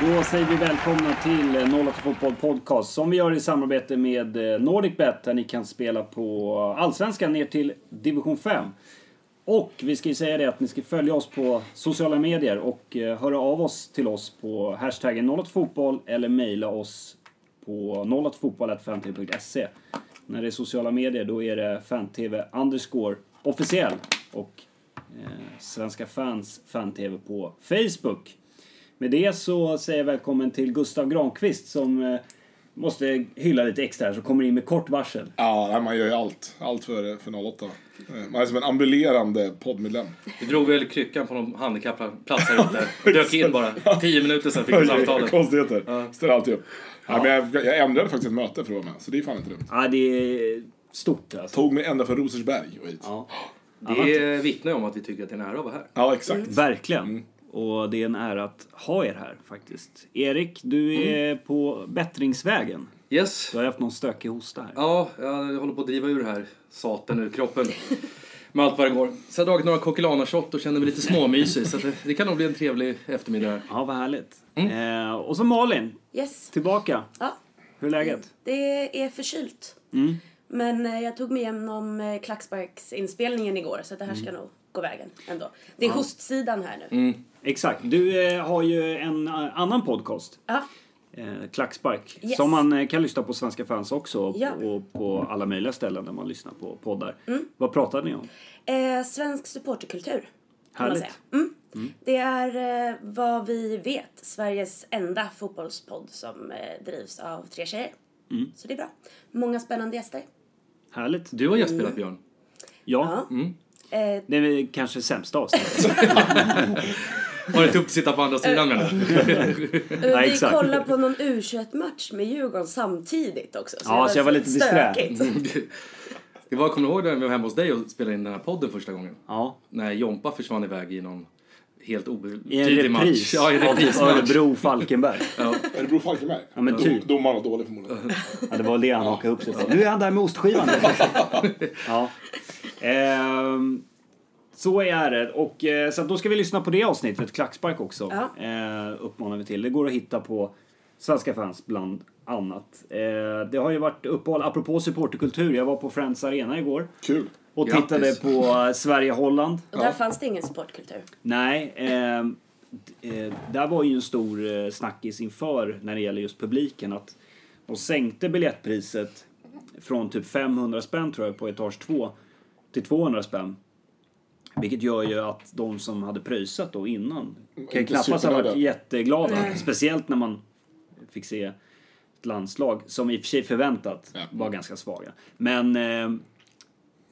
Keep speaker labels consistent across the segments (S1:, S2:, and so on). S1: Då säger vi välkomna till eh, 08 Fotboll Podcast som vi gör i samarbete med eh, NordicBet där ni kan spela på Allsvenskan ner till Division 5. Och vi ska ju säga det att ni ska följa oss på sociala medier och eh, höra av oss till oss på hashtaggen 08 Fotboll eller mejla oss på 08 fotboll@fantv.se. När det är sociala medier då är det fantv underscore officiell och eh, Svenska fans fan-tv på Facebook. Med det så säger jag välkommen till Gustav Granqvist som eh, måste hylla lite extra här som kommer in med kort varsel.
S2: Ja, nej, man gör ju allt. Allt för, för 08. Eh, Man är som en ambulerande poddmedlem.
S3: Vi drog väl kryckan på någon handikappplats här ute. Och dök in bara. Tio minuter sen fick vi samtalet.
S2: Konstigheter. Ställer alltid upp. Nej, men jag, jag ändrade faktiskt ett möte för att vara med, så det är fan inte dumt.
S1: Ja, det är stort alltså.
S2: Tog mig ända från Rosersberg och hit. Ja,
S1: Ja,
S3: Det vittnar ju om att vi tycker att det är en ära att vara här.
S2: exakt.
S1: Mm.
S3: Mm.
S1: verkligen. Och det är en ära att ha er här faktiskt. Erik, du
S3: Mm.
S1: är på bättringsvägen.
S3: Yes.
S1: Du har haft någon stökig hosta här.
S3: Ja, jag håller på att driva ur här saten ur kroppen. Med allt vad det går. Så jag har dragit några Coquelana-shot och känner mig lite småmysig. Så att det, det kan nog bli en trevlig eftermiddag här.
S1: Ja, vad härligt.
S3: Mm.
S1: Eh, och så Malin,
S4: Yes.
S1: tillbaka.
S4: Ja,
S1: Hur är läget?
S4: det är förkylt.
S1: Mm.
S4: Men eh, jag tog mig igenom eh, klacksparksinspelningen igår så att det här
S1: Mm.
S4: ska nog gå vägen ändå. Det är hostsidan här nu.
S3: Mm.
S1: Exakt. Du eh, har ju en eh, annan podcast.
S4: Ja,
S1: Eh, klackspark.
S4: Yes.
S1: Som man eh, kan lyssna på Svenska fans också och,
S4: Ja. Mm.
S1: och på alla möjliga ställen där man lyssnar på poddar. Vad pratade ni om?
S4: eh, svensk supporterkultur. Kan man
S1: Härligt.
S4: säga. Mm. Det är eh, vad vi vet Sveriges enda fotbollspodd som eh, drivs av tre tjejer.
S1: Mm.
S4: Så det är bra. Många spännande gäster.
S1: Härligt.
S3: Du har gästspelat Björn.
S1: Ja,
S4: Ja. Eh,
S1: det är väl kanske sämsta avsnittet.
S3: Var det tufft att sitta på andra sidan menar du?
S4: Eh, vi
S1: exakt.
S4: kollade på någon U21-match med Djurgården samtidigt också.
S1: Ja, så jag var lite disträ. Mm.
S4: stökigt.
S3: Det var, kommer du ihåg när vi var hemma hos dig och spelade in den här podden första gången?
S1: ja.
S3: När Jompa försvann iväg i någon helt
S1: I en
S3: obetydlig match.
S1: repris
S3: Ja, i en
S1: av
S3: reprismatch.
S1: Örebro-Falkenberg.
S2: Örebro Falkenberg.
S1: Ja, men
S2: Dom-
S1: typ.
S2: Domaren var dålig förmodligen.
S1: Ja, det var det han hakade upp sig på. Nu är han där med ostskivan. ja. Ehm, så är det. Och, eh, så att då ska vi lyssna på det avsnittet, Klackspark också,
S4: Ja.
S1: eh, uppmanar vi till. Det går att hitta på Svenska fans bland annat. Eh, det har ju varit uppehåll, apropå supporterkultur, jag var på Friends Arena igår
S2: Kul.
S1: och
S3: Grattis.
S1: tittade på eh, Sverige-Holland.
S4: Och där fanns det ingen supportkultur.
S1: Nej, eh, d- eh, där var ju en stor eh, snackis inför när det gäller just publiken att de sänkte biljettpriset från typ 500 spänn tror jag på etage 2 till 200 spänn. Vilket gör ju att de som hade pröjsat då innan kan ju
S2: Inte
S1: knappast ha varit
S2: supernöjda.
S1: jätteglada. Speciellt när man fick se ett landslag som i och för sig förväntat
S2: Ja.
S1: var ganska svaga. Men eh,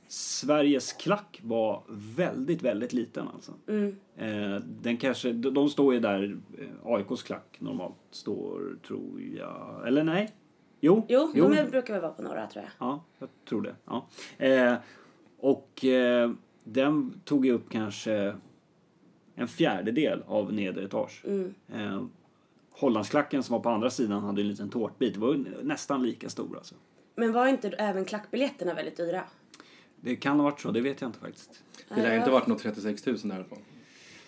S1: Sveriges klack var väldigt, väldigt liten alltså.
S4: Mm.
S1: Eh, den kanske, de, de står ju där, eh, AIKs klack normalt står, tror jag, eller nej? Jo,
S4: Jo, de brukar väl vara på några tror jag.
S1: Ja, jag tror det. Ja. Eh, och eh, den tog ju upp kanske en fjärdedel av nedre etage.
S4: Mm.
S1: Eh, Hollandsklacken som var på andra sidan hade en liten tårtbit. Det var ju nästan lika stor alltså.
S4: Men var inte även klackbiljetterna väldigt dyra?
S1: Det kan ha varit så, det vet jag inte faktiskt.
S3: Det lär ju inte varit något 36 000 därifrån.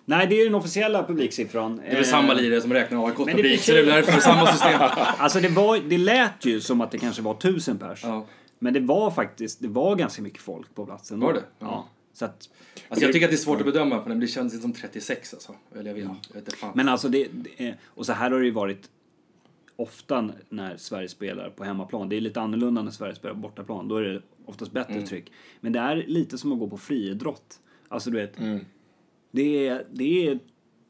S1: Nej, det är ju den officiella publiksiffran.
S3: Det är väl samma lirare som räknar AIKs
S1: Eh, det
S3: publik,
S1: finns
S3: så det är
S1: ju-
S3: därför samma system.
S1: Alltså det, var, det lät ju som att det kanske var tusen pers.
S3: Ja.
S1: Men det var faktiskt, det var ganska mycket folk på platsen.
S3: Var det?
S1: Ja.
S3: Ja.
S1: Så att,
S3: Alltså jag tycker att det är svårt att bedöma, men det känns inte som 36 alltså. Eller jag vet, jag vet inte fan.
S1: men alltså det, det, är- och så här har det ju varit ofta när Sverige spelar på hemmaplan. Det är lite annorlunda när Sverige spelar på bortaplan. Då är det oftast bättre
S3: Mm.
S1: tryck. Men det är lite som att gå på friidrott. Alltså du vet,
S3: Mm.
S1: det, är, det är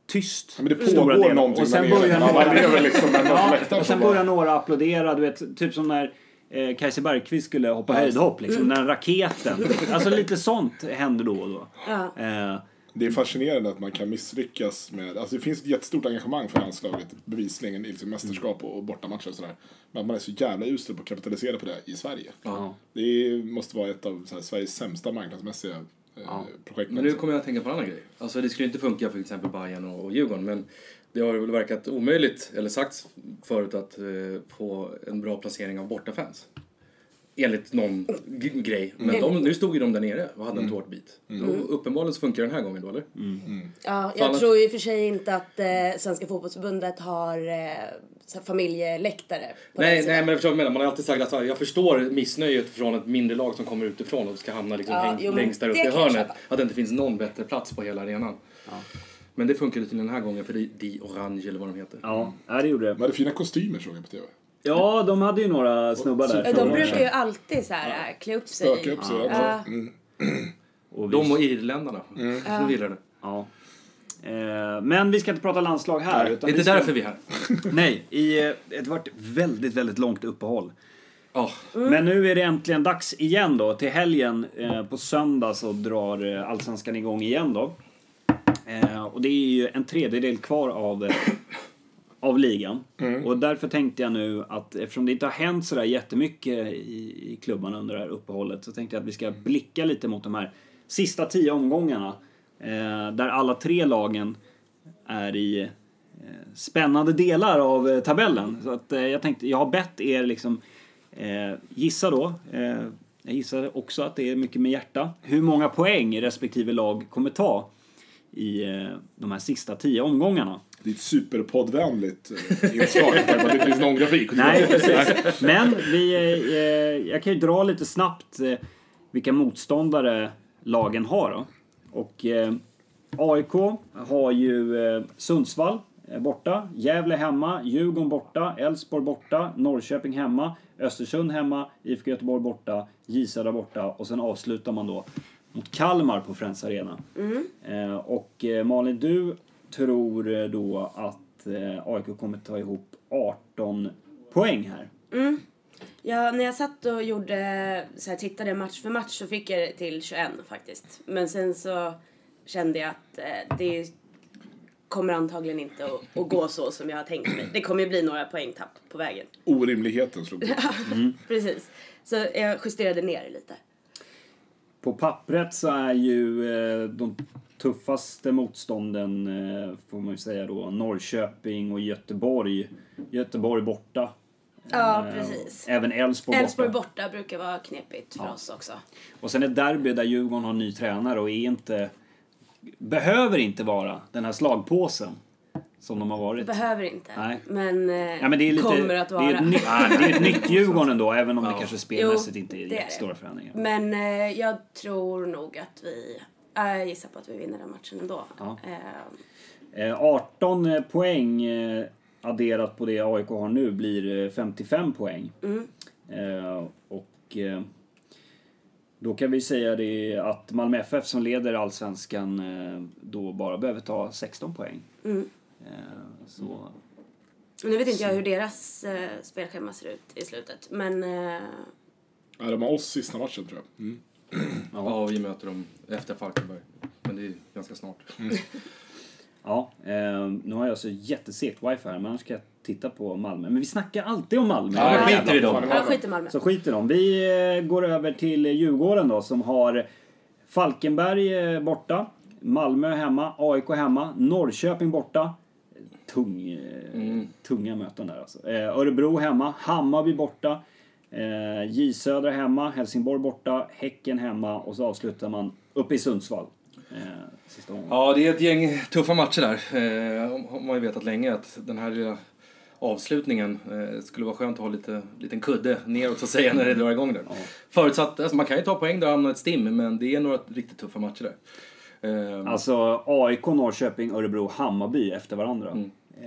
S1: tyst.
S2: Ja, men det
S1: i stora
S2: pågår
S1: delar.
S2: någonting
S1: Och sen
S2: där nere.
S1: börjar
S2: Ja,
S1: några-
S2: man lever liksom med någon på
S1: Ja,
S2: läktaren
S1: och sen
S2: som bara-
S1: börjar några applådera, du vet, typ som när eh, Kajsa Bergqvist skulle hoppa höjdhopp, liksom,
S3: Mm.
S1: den här raketen. Alltså lite sånt händer då och då.
S4: Ja.
S1: Eh,
S2: Det är fascinerande att man kan misslyckas med... Alltså det finns ett jättestort engagemang för landslaget, bevisligen, i liksom mästerskap
S3: Mm.
S2: och, och bortamatcher och sådär. Men att man är så jävla usel på att kapitalisera på det i Sverige. Det är, måste vara ett av så här, Sveriges sämsta marknadsmässiga eh, projekt.
S3: Men nu kommer jag att tänka på en annan grej. Alltså det skulle inte funka för till exempel Bayern och, och Djurgården, men det har väl verkat omöjligt, eller sagts förut, att eh, få en bra placering av bortafans. Enligt någon g- grej.
S1: Mm.
S3: Men de, nu stod ju de där nere och hade en tårtbit. Och uppenbarligen så funkar den här gången då eller?
S4: Ja,
S3: Fan,
S4: jag
S3: att-
S4: tror i och för sig inte att eh, Svenska fotbollsförbundet har eh, så här familjeläktare. på
S3: Nej, nej men
S4: den sidan.
S3: jag förstår vad du menar. Man har alltid sagt att så här, jag förstår missnöjet från ett mindre lag som kommer utifrån och ska hamna liksom
S4: Ja,
S3: häng,
S4: jo, men
S3: längst där
S4: det
S3: uppe i
S4: kan jag
S3: hörnet.
S4: köpa.
S3: Att det inte finns någon bättre plats på hela arenan. Men det funkade till den här gången för det är Di Orange eller vad de heter.
S1: Ja, ja, det gjorde
S2: De
S1: det.
S2: hade fina kostymer såg jag på tv.
S1: Ja, de hade ju några snubbar där.
S4: De brukar ju alltid så här eh, klä upp sig.
S2: Spöka upp sig. Ja. Mm.
S1: Och vi-
S3: De och irländarna. Som gillar det.
S1: Ja. Eh, Men vi ska inte prata landslag här.
S2: Nej,
S3: Det
S1: utan
S3: är
S1: vi
S3: inte
S1: ska...
S3: därför vi är här.
S1: Nej, i, eh, det var ett väldigt, väldigt långt uppehåll.
S3: Ja,
S1: Men nu är det äntligen dags igen då. Till helgen eh, på söndag så drar eh, Allsvenskan igång igen då. Eh, och det är ju en tredjedel kvar av, eh, av ligan. Och därför tänkte jag nu att eftersom det inte har hänt sådär jättemycket i, i klubbarna under det här uppehållet så tänkte jag att vi ska blicka lite mot de här sista tio omgångarna. Eh, där alla tre lagen är i eh, spännande delar av eh, tabellen. Så att, eh, jag, tänkte, jag har bett er liksom, eh, gissa då. Eh, jag gissar också att det är mycket med hjärta. Hur många poäng respektive lag kommer ta i eh, de här sista tio omgångarna.
S2: Det är ett superpoddvänligt eh, inslag. med tanke på att Det finns någon grafik.
S1: Nej, precis. Men vi, eh, jag kan ju dra lite snabbt eh, vilka motståndare lagen har. Då. Och eh, AIK har ju eh, Sundsvall eh, borta, Gävle hemma, Djurgården borta, Elfsborg borta, Norrköping hemma, Östersund hemma, IFK Göteborg borta, J Södra borta och sen avslutar man då mot Kalmar på Friends Arena. Eh, och eh, Malin, du tror eh, då att eh, AIK kommer ta ihop 18 poäng här.
S4: Ja, när jag satt och gjorde, så här, tittade match för match så fick jag det till 21 faktiskt. Men sen så kände jag att eh, det kommer antagligen inte att, att gå så som jag har tänkt mig. Det kommer ju bli några poängtapp på vägen.
S2: Orimligheten slog till.
S4: Precis. Så jag justerade ner det lite.
S1: På pappret så är ju eh, de tuffaste motstånden, eh, får man ju säga då, Norrköping och Göteborg. Göteborg borta.
S4: Ja,
S1: Eh,
S4: precis.
S1: Även Elfsborg
S4: Elfsborg
S1: borta.
S4: borta brukar vara knepigt för oss också.
S1: Och sen ett derby där Djurgården har ny tränare och är inte, behöver inte vara den här slagpåsen som de har varit.
S4: Behöver inte.
S1: Nej.
S4: Men, eh,
S1: Ja, men det är lite,
S4: kommer att vara.
S1: Det är ett nytt, det är ett nytt Djurgården ändå, även om det kanske spelmässigt
S4: Jo,
S1: inte är
S4: det är
S1: jättestora
S4: det.
S1: förändringar.
S4: Men eh, jag tror nog att vi... ja, jag gissar på att vi vinner den matchen ändå.
S1: Ja.
S4: Eh,
S1: Eh, 18 poäng eh, adderat på det AIK har nu blir eh, 55 poäng. Eh, och eh, då kan vi säga det att Malmö FF som leder allsvenskan eh, då bara behöver ta 16 poäng. Eh, så
S4: och nu vet inte jag hur deras eh, spelschema ser ut i slutet. Men eh,
S2: Ja, de har oss sista matchen tror jag. Mm.
S3: ja vi möter dem efter Falkenberg. Men det är ganska snart.
S1: Ja, eh, nu har jag så jättesegt wifi här, men annars ska jag titta på Malmö. Men vi snackar alltid om Malmö.
S3: Ja,
S1: Jävla
S3: skiter i dem.
S2: Fan, det var
S4: ja,
S2: bra.
S4: skit i Malmö.
S1: Så skiter de. Vi eh, går över till Djurgården då som har Falkenberg eh, borta, Malmö hemma, AIK hemma, Norrköping borta. Tung, eh, Tunga möten där alltså. Eh, Örebro hemma, Hammarby borta, eh, J Södra hemma, Helsingborg borta, Häcken hemma och så avslutar man uppe i Sundsvall. Eh, sista gången.
S3: Ja, det är ett gäng tuffa matcher där. Eh, om- om man har ju vetat länge att den här lilla avslutningen eh, skulle vara skönt att ha lite liten kudde neråt så att säga när det drar igång där. Förutsatt, alltså man kan ju ta poäng där och hamna i ett stim, men det är några riktigt tuffa matcher där. Eh,
S1: Alltså AIK, Norrköping, Örebro, Hammarby efter varandra.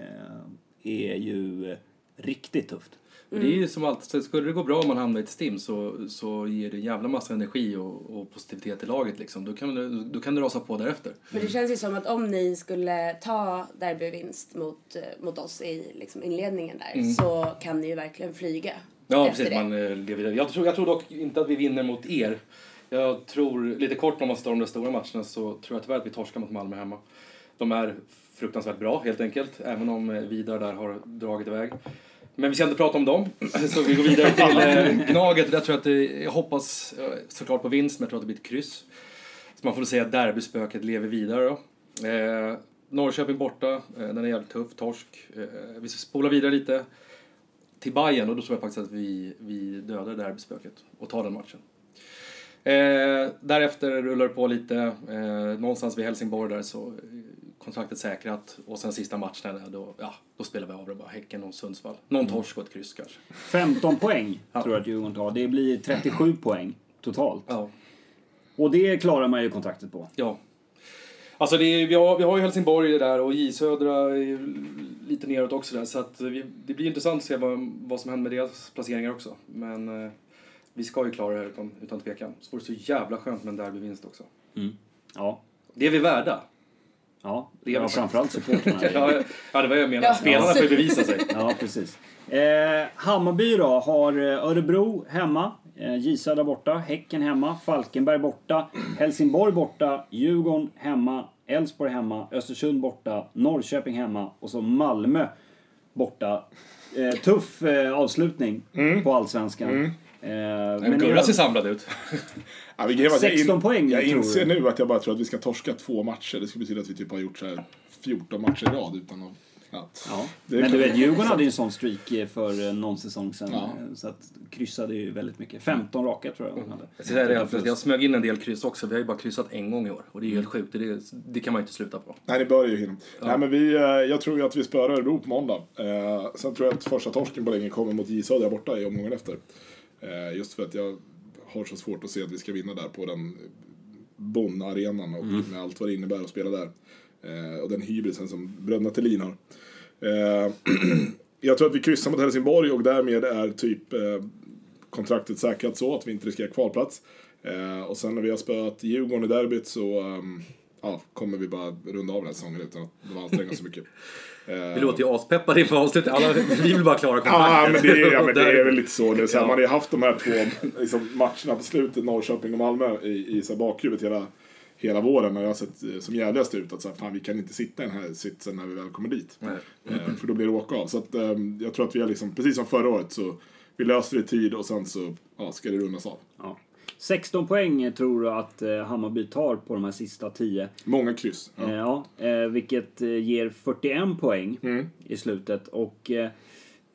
S1: Eh, är ju eh, riktigt tufft.
S3: Det är ju som alltid, skulle det gå bra om man hamnar i ett stim så, så ger det en jävla massa energi och, och positivitet i laget liksom. Då kan, det- då kan det rasa på därefter.
S4: Men det känns ju som att om ni skulle ta derbyvinst mot, eh, mot oss i liksom, inledningen där
S1: Mm.
S4: så kan ni ju verkligen flyga.
S3: Ja,
S4: efter
S3: precis.
S4: det.
S3: Man eh, lever vidare. Jag tror, jag tror dock inte att vi vinner mot er. Jag tror, lite kort om man står de där stora matcherna, så tror jag tyvärr att vi torskar mot Malmö hemma. De är fruktansvärt bra, helt enkelt, även om eh, Vidar där har dragit iväg. Men vi ska inte prata om dem, så vi går vidare till eh, Gnaget. Där tror jag att det, jag hoppas eh, såklart på vinst, men jag tror att det blir ett kryss. Så man får väl säga att derbyspöket lever vidare då. Eh, Norrköping borta, eh, den är jävligt tuff, torsk. Eh, vi spolar vidare lite. till Bayern och då tror jag faktiskt att vi, vi dödar derbyspöket och tar den matchen. Eh, därefter rullar det på lite, eh, någonstans vid Helsingborg där så eh, kontraktet säkrat och sen sista matchen där då, ja, då spelar vi av det bara, Häcken och Sundsvall. Någon torsk och ett kryss kanske.
S1: 15 poäng tror jag att Djurgården tar. Det blir 37 poäng totalt.
S3: Ja.
S1: Och det klarar man ju kontraktet på.
S3: Ja. Alltså det är, vi, har, vi har ju Helsingborg i det där och J Södra är ju lite neråt också där så att vi, det blir intressant att se vad, vad som händer med deras placeringar också. Men eh, vi ska ju klara det här utan, utan tvekan. Så vore det så jävla skönt med en derbyvinst också.
S1: Ja.
S3: Det är vi värda.
S1: Ja,
S3: Det gör
S1: ja
S3: man
S1: framförallt supportrarna.
S3: Ja, ja det var jag menade.
S4: Ja.
S3: Spelarna får ju bevisa sig.
S1: Ja, precis. Eh, Hammarby då har eh, Örebro hemma, eh, J Södra borta, Häcken hemma, Falkenberg borta, Helsingborg borta, Djurgården hemma, Elfsborg hemma, Östersund borta, Norrköping hemma och så Malmö borta. Eh, tuff eh, avslutning
S3: Mm.
S1: på allsvenskan. Eh, men
S3: Men
S1: i
S3: Gurra
S1: övrigt-
S3: ser samlad ut.
S2: Ja, vi grejer var att jag
S1: 16 poäng,
S2: Jag
S1: tror
S2: inser
S1: du?
S2: nu att jag bara tror att vi ska torska två matcher. Det skulle betyda att vi typ har gjort så här 14 matcher i rad utan att... att
S1: Ja.
S2: Det är
S1: Men du
S2: klart.
S1: vet, Djurgården hade ju en sån streak eh, för eh, någon säsong sedan.
S2: Ja.
S1: eh, Så att kryssade ju väldigt mycket. 15 raka tror jag de hade.
S3: Jag, säger det, för jag smög in en del kryss också. Vi har ju bara kryssat en gång i år och det är ju helt sjukt. Det, det kan man ju inte sluta på.
S2: Nej, det bör ju hinna. Nej, men vi, eh, jag tror ju att vi spöar Örebro på måndag. Eh, sen tror jag att första torsken på länge kommer mot J Södra borta i omgången efter. Eh, just för att jag har så svårt att se att vi ska vinna där på den Bonn-arenan och med allt vad det innebär att spela där. Eh, och den hybrisen som Bröderna Thelin har. Eh, jag tror att vi kryssar mot Helsingborg och därmed är typ eh, kontraktet säkrat så att vi inte riskerar kvalplats. Eh, och sen när vi har spöat Djurgården i derbyt så ehm, ja, kommer vi bara runda av den här säsongen utan att behöva anstränga oss så mycket. Eh,
S3: Vi låter ju aspeppade inför avslutet. Alla, vi vill bara klara kontraktet.
S2: Ja, men det, är- ja, men det är
S3: Där-
S2: väl lite så. Det är så här,
S3: Ja.
S2: Man har ju haft de här två liksom, matcherna på slutet, Norrköping och Malmö, i, i så här, bakhuvudet hela, hela våren. Och jag har sett eh, som jävligast ut att så här, fan, vi kan inte sitta i den här sitsen när vi väl kommer dit.
S3: Nej.
S2: Eh, för då blir det åka av. Så att, eh, jag tror att vi har liksom, precis som förra året, så vi löser det i tid och sen så ja, ska det rundas av.
S1: Ja. 16 poäng eh, tror du att eh, Hammarby tar på de här sista 10.
S2: Många
S3: Mm.
S2: kryss. Ja.
S1: Eh, ja, eh, vilket eh, ger 41 poäng
S2: Mm.
S1: i slutet. Och eh,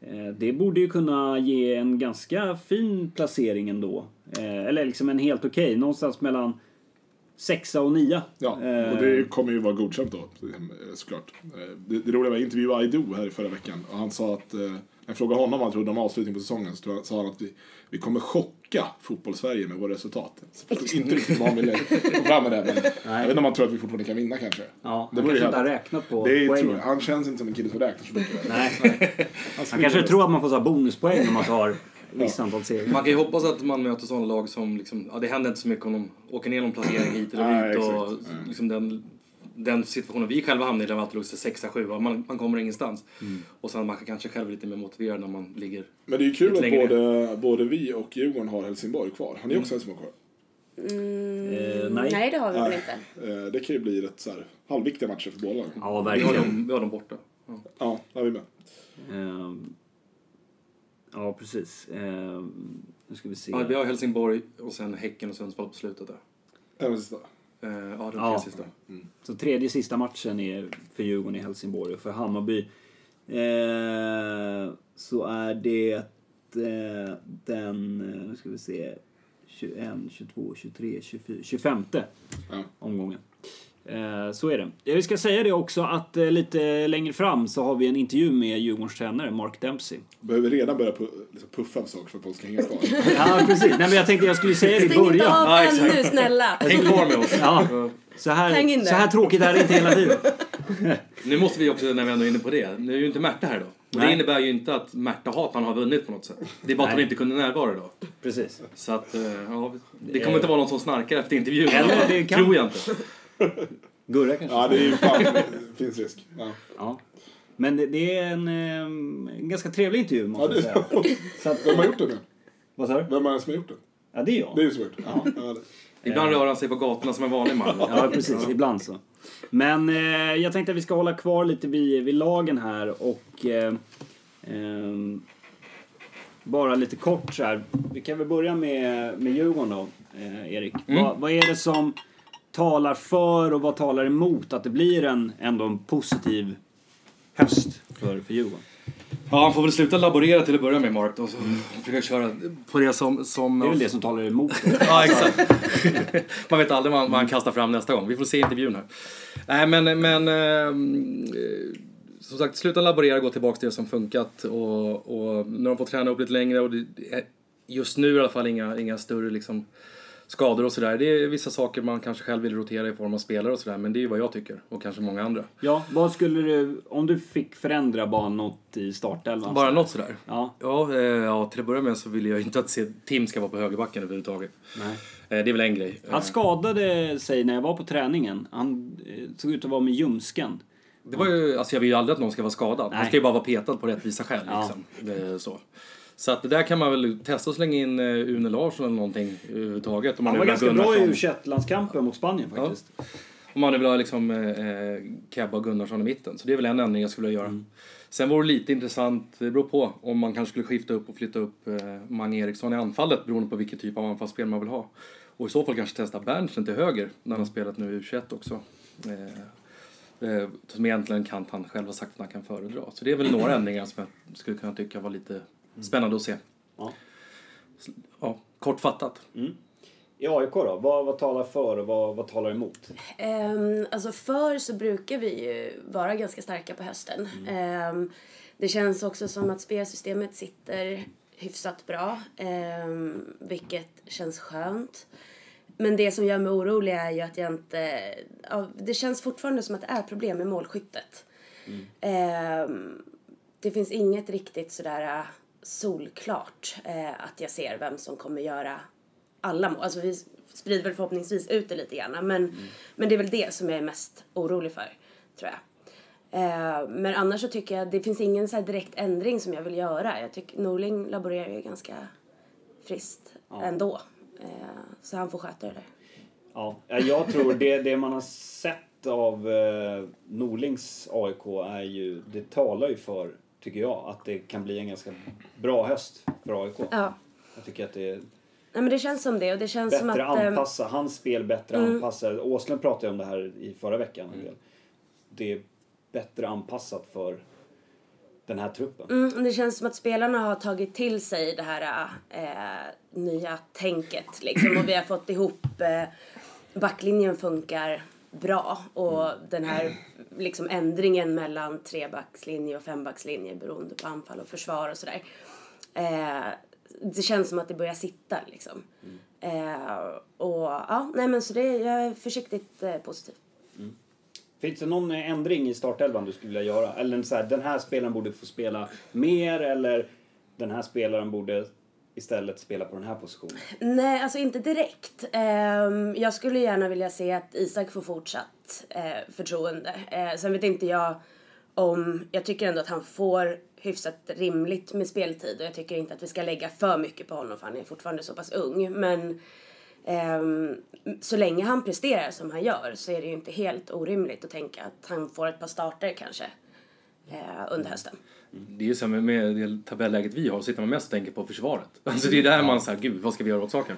S1: eh, det borde ju kunna ge en ganska fin placering ändå. Eh, eller liksom en helt okej. Någonstans mellan sexa och nia.
S2: Ja, och
S1: Eh.
S2: det kommer ju vara godkänt då, eh, såklart. Eh, Det, det roliga var, jag intervjuade Aido här i förra veckan och han sa att, eh, när jag frågade honom vad han trodde om avslutningen på säsongen, så tror jag- sa han att vi, vi kommer chocka fotbollssverige med våra resultat. Så jag förstår inte riktigt vad han ville få fram med det, men jag vet inte om han tror att vi fortfarande kan vinna kanske.
S1: Ja,
S2: det
S1: han
S2: vore
S1: kanske
S2: ju
S1: inte har
S2: helt-
S1: räknat på
S2: det är,
S1: poängen.
S2: tror, jag. han känns inte som en kille som räknar så mycket.
S1: Nej. Han kanske tror att man får så här bonuspoäng om man tar visst antal serier.
S3: Man kan ju hoppas att man möter sådana lag som liksom, ja, det händer inte så mycket om de åker ner någon placering hit eller
S2: Nej,
S3: dit och
S2: exakt. Nej.
S3: liksom den, den situationen vi själva hamnade i där vi alltid låg så sexa, sjua, man, man kommer ingenstans. Och sen man kanske själv är lite mer motiverad när man ligger...
S2: Men det är ju kul
S3: Lite
S2: att
S3: längre
S2: både, både vi och Djurgården har Helsingborg kvar. Har ni också
S1: Mm.
S2: Helsingborg kvar?
S1: Eh,
S4: Mm, Nej.
S1: nej.
S4: det har vi väl inte.
S2: Eh, Det kan ju bli rätt så här, halvviktiga matcher för båda lagen.
S1: Ja,
S3: Vi har
S1: verkligen.
S3: dem, vi har dem borta. Ja.
S2: Ja, där är vi med.
S1: Ehm, Ja, precis. Ehm, Nu ska vi se.
S3: Ja, vi har Helsingborg och sen Häcken och Sundsvall på slutet där.
S2: Även sista.
S3: Eh, ja, de
S1: Ja.
S3: tre sista.
S1: Så tredje sista matchen är för Djurgården i Helsingborg och för Hammarby eh, så är det eh, den, eh, nu ska vi se, 21, 22, 23, 24, 25
S2: Ja.
S1: omgången. Eh, så är det. Eh, Vi ska säga det också att eh, lite längre fram så har vi en intervju med Djurgårdens tränare Mark Dempsey.
S2: Behöver redan börja pu- liksom puffa för saker för att folk ska hänga kvar.
S1: Ja, precis. Nej, men jag tänkte jag skulle säga det i
S4: Stäng inte
S1: början.
S4: av
S3: Ja,
S4: än
S3: exakt.
S4: nu snälla!
S3: Häng kvar med oss!
S1: Ja,
S3: Ja.
S1: så,
S4: Häng
S1: här,
S4: in där.
S1: så här tråkigt är det inte hela tiden.
S3: Nu måste vi också, när vi ändå är inne på det, nu är ju inte Märta här idag. Och det
S1: Nej.
S3: innebär ju inte att Märta Hatan har vunnit på något sätt. Det är bara att hon
S1: Nej.
S3: inte kunde närvara idag.
S1: Precis.
S3: Så att, eh, ja, det kommer inte vara någon som snarkar efter intervjun.
S1: Eh, Eller det kan- Eh.
S3: Tror jag inte.
S1: Gurra kanske?
S2: Ja, det är ju fan, det finns risk. Ja.
S1: Ja. Men det, det är en, ehm, en ganska trevlig intervju
S2: Ja,
S1: måste jag
S2: det,
S1: säga. Så att,
S2: vem har gjort det nu?
S1: vad sa du?
S2: Vem är det som har gjort det?
S1: Ja, det är
S2: Det är
S1: jag.
S2: ju svårt. Ja. det-
S3: Ibland rör han sig på gatorna som en vanlig man.
S1: Ja, precis. Ibland så. Men eh, jag tänkte att vi ska hålla kvar lite vid, vid lagen här och eh, ehm, bara lite kort så här. Vi kan väl börja med, med Djurgården då, eh, Erik. Vad, vad är det som talar för och vad talar emot att det blir en, ändå en positiv höst för, för Djurgården?
S3: Ja, han får väl sluta laborera till att börja med, Mark. Då, så försöka köra på det som... som
S1: Det är väl det som talar emot det.
S3: Ja, exakt. man vet aldrig vad han, vad han kastar fram nästa gång. Vi får se intervjun här. Nej, men... men ehm, eh, som sagt, sluta laborera, gå tillbaka till det som funkat. Och, och nu har de fått träna upp lite längre och det är just nu i alla fall inga, inga större liksom, skador och sådär. Det är vissa saker man kanske själv vill rotera i form av spelare och sådär, men det är ju vad jag tycker. Och kanske många andra.
S1: Ja, vad skulle du... Om du fick förändra bara något i startelvan?
S3: Bara något sådär.
S1: Ja,
S3: Ja, eh, ja, till att börja med så vill jag inte att se Tim ska vara på högerbacken överhuvudtaget.
S1: nej.
S3: Eh, Det är väl en grej. Eh,
S1: Han skadade sig när jag var på träningen. Han eh, såg ut att vara med ljumsken.
S3: Det var ju, alltså jag vill ju aldrig att någon ska vara skadad. Man
S1: Nej.
S3: ska ju bara vara petad på rättvisa skäl.
S1: Ja.
S3: Liksom. Det är så. så att det där kan man väl testa att slänga in eh, Une Larsson eller någonting eh, överhuvudtaget. Om man
S1: Han
S3: nu
S1: var
S3: vill ha
S1: ganska bra i u
S3: Gunnarsson-
S1: 21 mot Spanien faktiskt.
S3: Om man nu vill ha liksom, eh, eh, Kebba och Gunnarsson i mitten. Så det är väl en ändring jag skulle vilja göra. Sen vore det lite intressant, det beror på, om man kanske skulle skifta upp och flytta upp eh, Mange Eriksson i anfallet beroende på vilken typ av anfallsspel man vill ha. Och i så fall kanske testa Berntsen till höger när han har spelat nu i U21 också. Eh, eh, som egentligen en kant han själv har sagt att han kan föredra. Så det är väl några ändringar som jag skulle kunna tycka var lite spännande att se.
S1: Ja.
S3: Ja, kortfattat.
S1: I AIK då? Vad, vad talar för och vad, vad talar emot?
S4: Ehm, alltså förr så brukar vi ju vara ganska starka på hösten. Ehm, det känns också som att spelsystemet sitter hyfsat bra, ehm, vilket känns skönt. Men det som gör mig orolig är ju att jag inte... Ja, det känns fortfarande som att det är problem med målskyttet. Ehm, det finns inget riktigt sådär äh, solklart eh, att jag ser vem som kommer göra alla mål. Alltså vi sprider väl förhoppningsvis ut det lite grann. Men, men det är väl det som jag är mest orolig för, tror jag. Eh, men annars så tycker jag, det finns ingen så här direkt ändring som jag vill göra. Jag tycker Norling laborerar ju ganska friskt ändå. Eh, så han får sköta det där.
S1: Ja, jag tror det, det man har sett av eh, Norlings AIK är ju, det talar ju för, tycker jag, att det kan bli en ganska bra höst för AIK.
S4: Ja.
S1: Jag tycker att det är
S4: Nej, men det känns som det och det känns som att...
S1: bättre
S4: ehm, Mm.
S1: anpassa, hans spel bättre anpassa. Åslund pratade ju om det här i förra veckan. en del. Det är bättre anpassat för den här truppen.
S4: Mm, det känns som att spelarna har tagit till sig det här eh, nya tänket liksom, och vi har fått ihop eh, backlinjen funkar bra och den här liksom, ändringen mellan trebackslinje och fembackslinje beroende på anfall och försvar och sådär. Eh, det känns som att det börjar sitta liksom. Eh, och ja, nej men så det, jag är försiktigt eh, positiv.
S1: Finns det någon ändring i startelvan du skulle vilja göra? Eller så här, den här spelaren borde få spela mer eller den här spelaren borde istället spela på den här positionen?
S4: Nej, alltså inte direkt. Ehm, jag skulle gärna vilja se att Isak får fortsatt eh, förtroende. Eh, sen vet inte jag om... Jag tycker ändå att han får hyfsat rimligt med speltid och jag tycker inte att vi ska lägga för mycket på honom för han är fortfarande så pass ung. Men ehm, så länge han presterar som han gör så är det ju inte helt orimligt att tänka att han får ett par starter kanske eh, under hösten.
S3: Det är ju så här med, med det tabelläget vi har, sitter man mest och tänker på försvaret. Alltså det är där man säger, gud vad ska vi göra åt saken?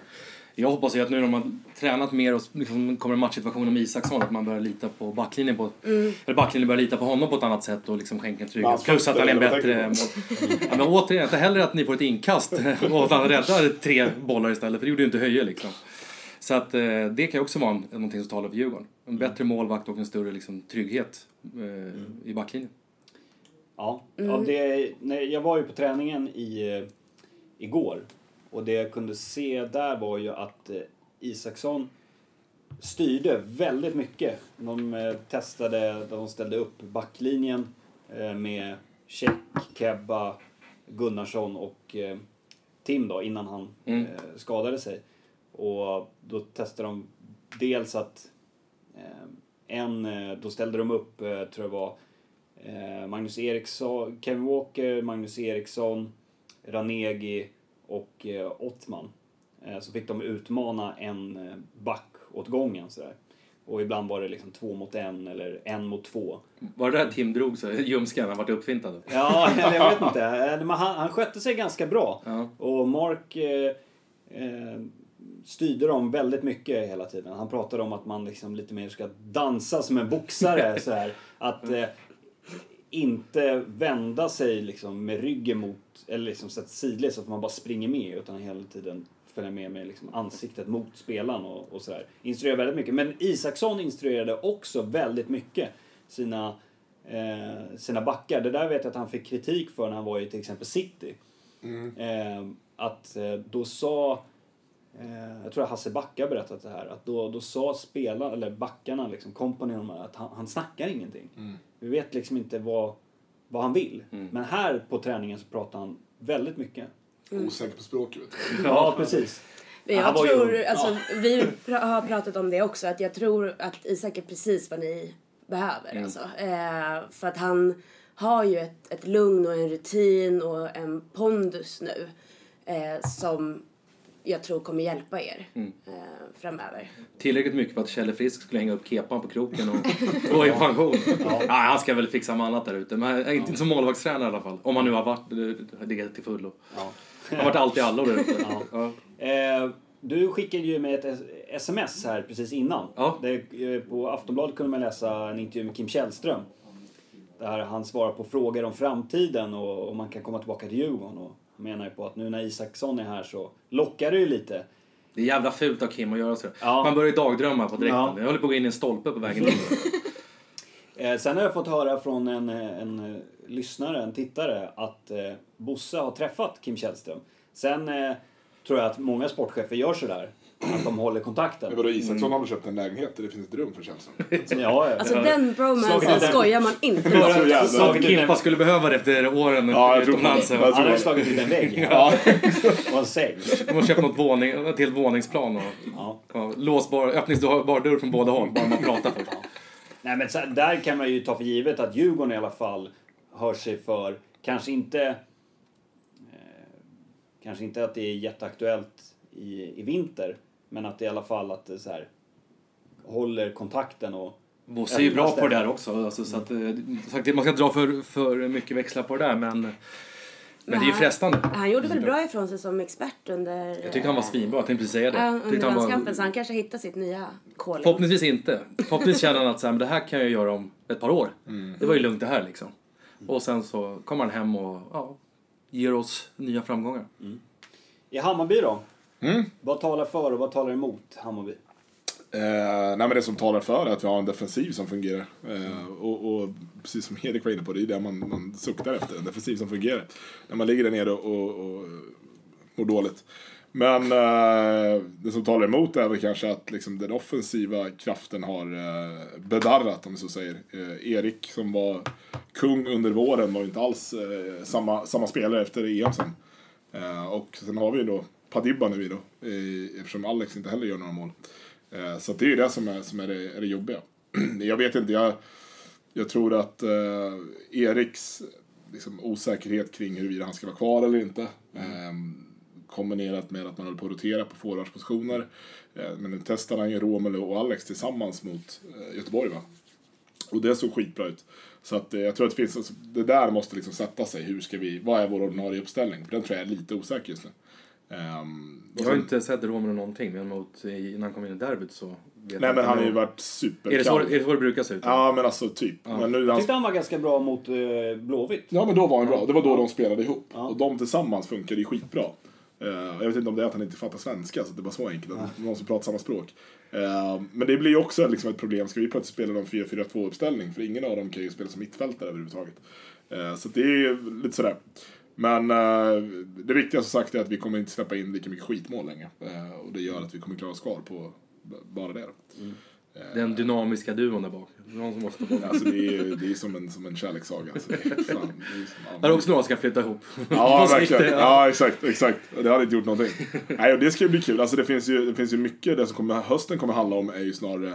S3: Jag hoppas ju att nu när man tränat mer och liksom kommer en matchsituation med Isaksson att man börjar lita på backlinjen på, eller backlinjen börjar lita på honom på ett annat sätt och liksom skänka en
S2: Man
S3: trygghet.
S2: får
S3: Plus att han är en
S2: ställa
S3: bättre...
S2: vad
S3: mål- ja, men återigen, inte heller att ni får ett inkast och att han räddar tre bollar istället, för det gjorde ju inte Höje liksom. Så att eh, det kan ju också vara en- någonting som talar för Djurgården. En bättre målvakt och en större liksom, trygghet eh, i backlinjen.
S1: Ja, ja det, nej, jag var ju på träningen i, eh, igår och det jag kunde se där var ju att eh, Isaksson styrde väldigt mycket. De eh, testade, de ställde upp backlinjen eh, med Check, Kebba, Gunnarsson och eh, Tim då innan han eh, skadade sig. Och då testade de dels att eh, en, eh, då ställde de upp, eh, tror jag var, Eh, Magnus Eriksson, Kevin Walker, Magnus Eriksson, Ranegi och eh, Ottman. Eh, så fick de utmana en eh, back åt gången sådär. Och ibland var det liksom två mot en eller en mot två.
S3: Var det där Tim drog sig? Ljumsken, han vart uppfintad.
S1: Ja, eller jag vet inte. Eh, Men han, han skötte sig ganska bra.
S3: Ja.
S1: Och Mark eh, eh, styrde dem väldigt mycket hela tiden. Han pratade om att man liksom lite mer ska dansa som en boxare. så här. Att eh, inte vända sig liksom med ryggen mot, eller liksom sätta sidled så att man bara springer med utan hela tiden följa med med liksom ansiktet mot spelaren och, och sådär. Instruerar väldigt mycket. Men Isaksson instruerade också väldigt mycket sina, eh, sina backar. Det där vet jag att han fick kritik för när han var i till exempel City. Eh, att eh, då sa Eh, jag tror att Hasse Backa har berättat det här. Att då, då sa spelarna, eller backarna, liksom, company och de här, att han, han snackar ingenting. Vi vet liksom inte vad, vad han vill.
S4: Mm.
S1: Men här på träningen så pratar han väldigt mycket.
S2: Osäker på språket. vet du.
S1: Ja, precis.
S4: Men
S1: Han
S4: jag
S1: var ju
S4: tror,
S1: ung.
S4: alltså,
S1: Ja.
S4: vi pr- har pratat om det också, att jag tror att Isak är precis vad ni behöver. Alltså. Eh, för att han har ju ett, ett lugn och en rutin och en pondus nu eh, som jag tror kommer hjälpa er eh, framöver.
S3: Tillräckligt mycket för att Kjelle Frisk skulle hänga upp kepan på kroken och gå i pension. Nej, han ska väl fixa med annat där ute. Men inte inte som målvaktstränare i alla fall. Om han nu har varit eh, det till fullo.
S1: Ja.
S3: Han har varit allt i allo där ute. Ja.
S1: Eh, du skickade ju med ett s- sms här precis innan.
S3: Ja.
S1: Det, eh, på Aftonbladet kunde man läsa en intervju med Kim Källström. Där han svarar på frågor om framtiden och om man kan komma tillbaka till Djurgården. Och han menar ju på att nu när Isaksson är här så lockar det ju lite.
S3: Det är jävla fult av Kim att göra så.
S1: Ja.
S3: Man börjar ju dagdrömma på direkten.
S1: Ja.
S3: Jag håller på att gå in i en stolpe på vägen in.
S1: Eh, sen har jag fått höra från en, eh, en eh, lyssnare, en tittare, att eh, Bosse har träffat Kim Källström. Sen eh, tror jag att många sportchefer gör sådär. Att de håller kontakten.
S2: Men vadå, Isaksson har väl köpt en lägenhet där det finns ett rum för Kjellström?
S1: Ja, ja.
S4: Alltså
S1: Ja.
S4: den
S1: Slagit ut
S4: bromansen
S1: den.
S4: skojar man inte
S1: Förra-
S4: med.
S2: Så jävla-
S1: slagit ut den-
S3: Kimpa skulle behöva det efter åren
S2: Ja, jag tror
S3: utomlands.
S2: det. Jag
S1: Han
S3: Man
S2: tror
S1: har ju
S2: det.
S1: slagit ut en vägg. Och en säng.
S3: måste köpa något våning, ett helt våningsplan. Och,
S1: Ja.
S3: ja, låsbar, öppningsbar dörr från båda håll, bara man pratar först.
S1: Nej, men så, där kan man ju ta för givet att Djurgården i alla fall hör sig för. Kanske inte... Eh, kanske inte att det är jätteaktuellt i, i vinter. Men att det i alla fall att det så här, håller kontakten och...
S3: Bosse är ju bra på det där också. Alltså, så att, eh,
S2: Mm.
S3: sagt, man ska inte dra för, för mycket växlar på det där, men, men det är ju frestande.
S4: Han gjorde väl bra ifrån sig som expert under... eh,
S3: Jag tyckte han var svinbra, jag tänkte precis säga det.
S4: Ja,
S3: Jag tyckte
S4: under
S3: han var-
S4: landskampen, så han kanske hittar sitt nya calling.
S3: Förhoppningsvis inte. Förhoppningsvis känner han att så här, men det här kan jag göra om ett par år.
S2: Mm.
S3: Det var ju lugnt det här liksom. Och sen så kommer han hem och ja, ger oss nya framgångar.
S1: I Hammarby då?
S2: Mm.
S1: Vad talar för och vad talar emot Hammarby?
S2: Eh, nej, men det som talar för är att vi har en defensiv som fungerar. Eh, och, och precis som Erik var inne på, det är det man, man suktar efter. En defensiv som fungerar. När man ligger där nere och, och, och mår dåligt. Men eh, det som talar emot är väl kanske att liksom, den offensiva kraften har eh, bedarrat, om vi så säger. Eh, Erik som var kung under våren var ju inte alls eh, samma, samma spelare efter EM sen. Eh, och sen har vi ju då Padibba nu i då, eh, eftersom Alex inte heller gör några mål. Eh, så att det är ju det som är, som är, det, är det jobbiga. jag vet inte, jag, jag tror att eh, Eriks liksom, osäkerhet kring huruvida han ska vara kvar eller inte
S3: Mm.
S2: eh, kombinerat med att man håller på att rotera på forwardspositioner. Eh, men nu testar han ju Romelu och Alex tillsammans mot eh, Göteborg va? Och det såg skitbra ut. Så att eh, jag tror att det finns, alltså, det där måste liksom sätta sig. Hur ska vi, vad är vår ordinarie uppställning? För den tror jag är lite osäker just nu. Ehm, och
S3: Jag har
S2: sen-
S3: inte sett Romero någonting, men mot, i- innan han kom in i derbyt så... Vet jag
S2: Nej
S3: inte.
S2: men han har ju varit
S3: Är det, så, är
S2: superkall.
S3: det så det brukar se ut?
S2: Ja men alltså typ. Men nu,
S1: Jag
S2: han,
S1: tyckte han var ganska bra mot eh, Blåvitt.
S2: ja men då var han bra. Det var då de spelade ihop. Och de tillsammans funkade ju skitbra. Eh, jag vet inte om det är att han inte fattar svenska, så att det var så enkelt. Att någon som pratar samma språk. Eh, men det blir ju också liksom ett problem. Ska vi plötsligt spela någon 4-4-2-uppställning? För ingen av dem kan ju spela som mittfältare överhuvudtaget. Eh, så att det är ju lite sådär. Men eh, det viktiga som sagt är att vi kommer inte släppa in lika mycket skitmål längre. Eh, och det gör att vi kommer klara oss kvar på b- bara det. då.
S3: Den dynamiska duon där bak. Någon som måste bort.
S2: Alltså det är ju det är som, en, som en kärlekssaga. Alltså, det är fan, det är som,
S3: Här är också några som ska flytta ihop.
S2: Ja,
S3: På sikt,
S2: verkligen.
S3: ja.
S2: Ja, exakt. exakt. Det hade inte gjort någonting. Nej, och det ska ju bli kul. Alltså, det, finns ju, det finns ju mycket. Det som kommer, hösten kommer handla om är ju snarare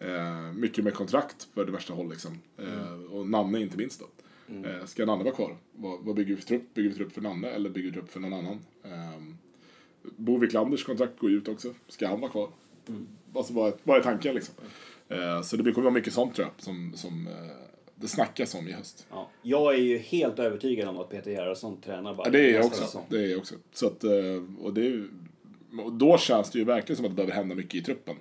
S2: eh, mycket med kontrakt för det värsta håll. Liksom. Eh, och Nanne inte minst. Då. Eh, ska Nanne vara kvar? Vad, vad bygger vi för trupp? Bygger vi trupp för Nanne eller bygger vi trupp för någon annan? Eh, Bo Wiklanders kontrakt går ju ut också. Ska han vara kvar? Alltså, vad, är, vad är tanken liksom? Eh, så det blir- kommer vara mycket sånt tror jag, som, som eh, det snackas om i höst.
S1: Ja. Jag är ju helt övertygad om att Peter Gerhardsson tränar bara
S2: Ja, det är jag också. Det är jag också. Så att, eh, och det är, ju- och då känns det ju verkligen som att det behöver hända mycket i truppen.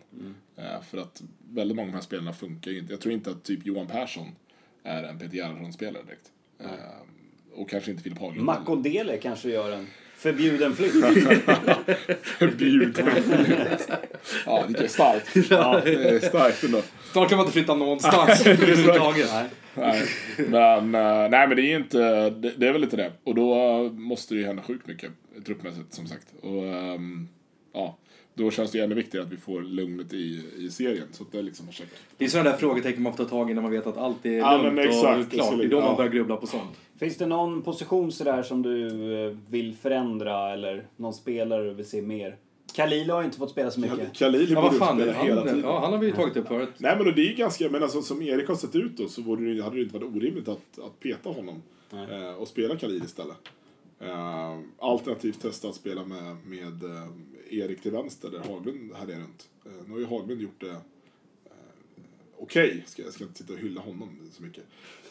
S2: Eh, För att väldigt många av de här spelarna funkar ju inte. Jag tror inte att typ Johan Persson är en Peter Gerhardsson-spelare direkt. Eh, och kanske inte Filip Haglund. heller.
S1: Makodele kanske gör en förbjuden flytt.
S2: Förbjuden. ja, det är starkt.
S1: Ja.
S2: Det är starkt ändå.
S3: Snart kan man inte flytta någonstans överhuvudtaget.
S2: Nej. Men, eh, nej, men det är ju inte, det, det är väl lite det. Och då måste det ju hända sjukt mycket truppmässigt som sagt. Och ehm, ja, då känns det ju ännu viktigare att vi får lugnet i, i serien. Så att det är liksom en check.
S3: Det är sådana där frågetecken man får ta tag i när man vet att allt är
S2: Ja,
S3: lugnt
S2: men exakt,
S3: och klart. Det är
S2: absolut,
S3: då man
S2: ja.
S3: börjar grubbla på sånt.
S1: Finns det någon position sådär som du eh, vill förändra eller någon spelare du vill se mer? Kalila har ju inte fått spela så mycket.
S2: Khalili
S3: Ja,
S2: borde
S3: vad
S2: ju
S3: fan.
S2: spela hela
S3: Han,
S2: tiden.
S3: ja, han har vi ju tagit upp förut.
S2: Nej men och det är ju ganska, men alltså, som Erik har sett ut då så borde det, ju- hade det ju inte varit orimligt att, att peta honom eh, och spela Khalil istället. Eh, alternativt testa att spela med, med eh, Erik till vänster där Haglund här är runt. Eh, nu har ju Haglund gjort det eh, okej, ska, jag ska inte sitta och hylla honom så mycket.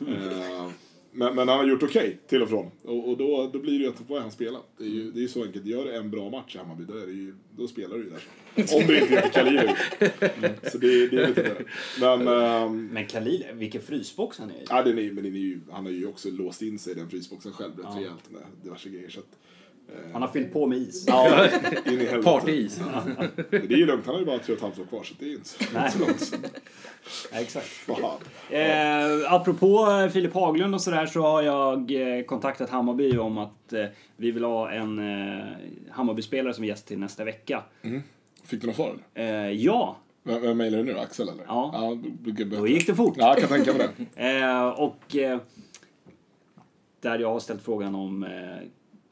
S2: Eh, men, men han har gjort okej till och från och, och då, då blir det ju att vad är han spelar? Det är ju det är ju så enkelt, gör du en bra match i Hammarby då, är det ju, då spelar du ju där. Om du inte heter Khalil. Så det, det är lite det. Men, ehm,
S1: Men Kalila, vilken frysbox han är i.
S2: Ja, den är, ju- men den är ju, han har ju också låst in sig i den frysboxen själv rätt rejält med diverse grejer. Så att,
S1: Han har fyllt på med is.
S2: ja, in i helvete.
S3: Partyis.
S2: Men det är ju lugnt, han har ju bara tre och ett halvt år kvar så det är inte så, inte så långt.
S1: Ja, exakt.
S2: Fan.
S1: Eh, apropå eh, Filip Haglund och sådär så har jag eh, kontaktat Hammarby om att eh, vi vill ha en eh, Hammarby-spelare som gäst till nästa vecka.
S2: Fick du något svar eller?
S1: Eh, ja,
S2: Vem, vem mejlade du nu? Axel eller?
S1: Ja.
S2: ja du, du,
S1: då gick det fort.
S2: Ja, jag kan tänka mig det.
S1: Eh, och eh, där jag har ställt frågan om eh,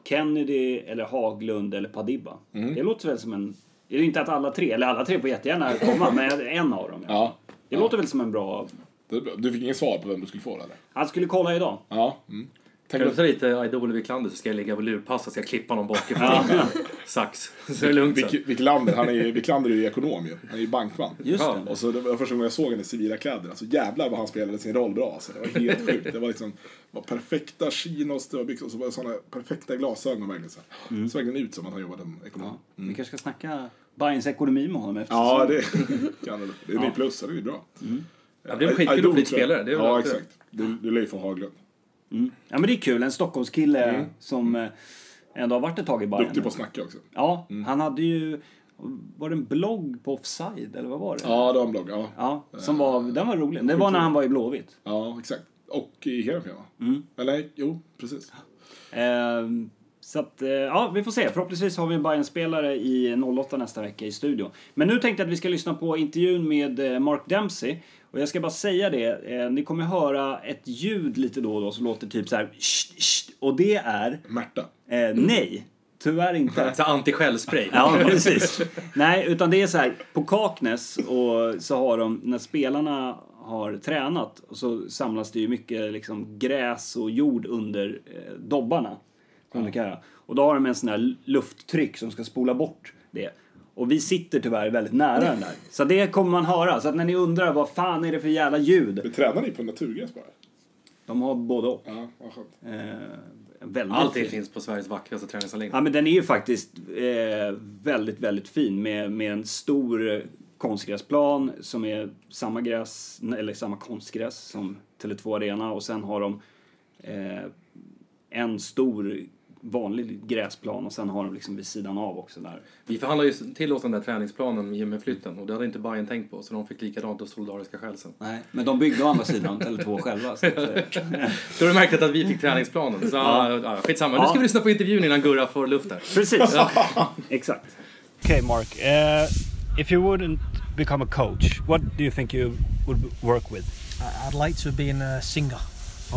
S1: Kennedy eller Haglund eller Padibba.
S2: Mm.
S1: Det låter väl som en... Det är ju inte att alla tre, eller alla tre får jättegärna komma, men en av dem.
S2: Ja.
S1: Det låter väl som en bra...
S2: Det är bra. Du fick ingen svar på vem du skulle få eller?
S1: Han skulle kolla idag.
S2: Ja. Mm. Tänk
S3: Kan du
S2: att,
S3: ta lite Idol Wiklander så ska jag ligga och lurpassa, ska jag klippa någon bakifrån
S1: Ja.
S3: med sax. Så är det lugnt sen.
S2: Vick- Wiklander, han är ju, Wiklander är ju ekonom ju. Han är ju bankman.
S1: Just
S3: Ja.
S1: det.
S2: Och så det var första gången jag såg henne i civila kläder. Alltså jävlar vad han spelade sin roll bra. Alltså, det var helt sjukt. Det var liksom det var perfekta chinos, det var byxor och så var det sådana perfekta glasögon. och Verkligen, så här.
S3: Mm.
S2: Såg den ut som att han jobbade som ekonom.
S1: Vi kanske ska snacka Bayerns ekonomi med honom efter
S2: Mm. Ja,
S1: säsongen.
S2: det kan det. Det är ju plus, så det är ju bra.
S3: Ja, det är en
S2: I-
S3: skitkul
S2: Idol,
S3: att bli
S2: tror jag.
S3: spelare. Det är väl
S2: ja,
S3: alltid-
S2: exakt. Du, du lär ju få Haglund.
S1: Ja, men det är kul. En Stockholmskille som eh, ändå har varit ett tag i Bayern.
S2: Mm. Duktig på att snacka Mm. också.
S1: Ja, han hade ju... Var det en blogg på Offside, eller vad var det?
S2: Ja, det har en blogg. Ja, ja.
S1: Ja, som var, den var rolig. Det var när han var i Blåvitt.
S2: exakt. Och i Hedenfen va?
S3: Mm.
S2: Eller jo, precis.
S1: Eh, så att, eh, ja, vi får se. Förhoppningsvis har vi en Bayern-spelare i 08 nästa vecka i studion. Men nu tänkte jag att vi ska lyssna på intervjun med eh, Mark Dempsey. Och jag ska bara säga det, eh, ni kommer höra ett ljud lite då och då som låter typ så här "Sht, sht", Och det är,
S2: Märta.
S1: eh, nej, tyvärr inte.
S3: Så anti-skällspray.
S1: Ja, precis. Nej, utan det är så här, på Kaknäs och så har de, när spelarna har tränat och så samlas det ju mycket liksom gräs och jord under eh, dobbarna. Som det kan göra. Och då har de en sån här lufttryck som ska spola bort det. Och vi sitter tyvärr väldigt nära den där. Så det kommer man höra. Så att när ni undrar vad fan är det för jävla ljud?
S2: Vi tränar ni på naturgräs bara?
S1: De har både och.
S2: Ja, vad skönt.
S1: Eh, väldigt
S3: Allt det
S1: fint.
S3: finns på Sveriges vackraste träningsanläggning.
S1: Ja, men den är ju faktiskt eh, väldigt, väldigt fin med, med en stor eh, konstgräsplan som är samma gräs, eller samma konstgräs som Tele2 Arena och sen har de eh, en stor vanlig gräsplan och sen har de liksom vid sidan av också där.
S3: Vi förhandlade ju till oss den där träningsplanen i och med flytten och det hade inte Bayern tänkt på så de fick likadant och solidariska skäl sen.
S1: Nej, men de byggde å andra sidan Tele2 själva. Så att, eh,
S3: Då är det märkligt att vi fick träningsplanen. Så ja. Ja, skitsamma, nu
S1: Ja.
S3: ska vi lyssna på intervjun innan Gurra får luft där.
S1: precis, exakt.
S5: Okay, Mark. Uh, if you wouldn't become a coach, what do you think you would work with?
S6: I- I'd like to be in a singer.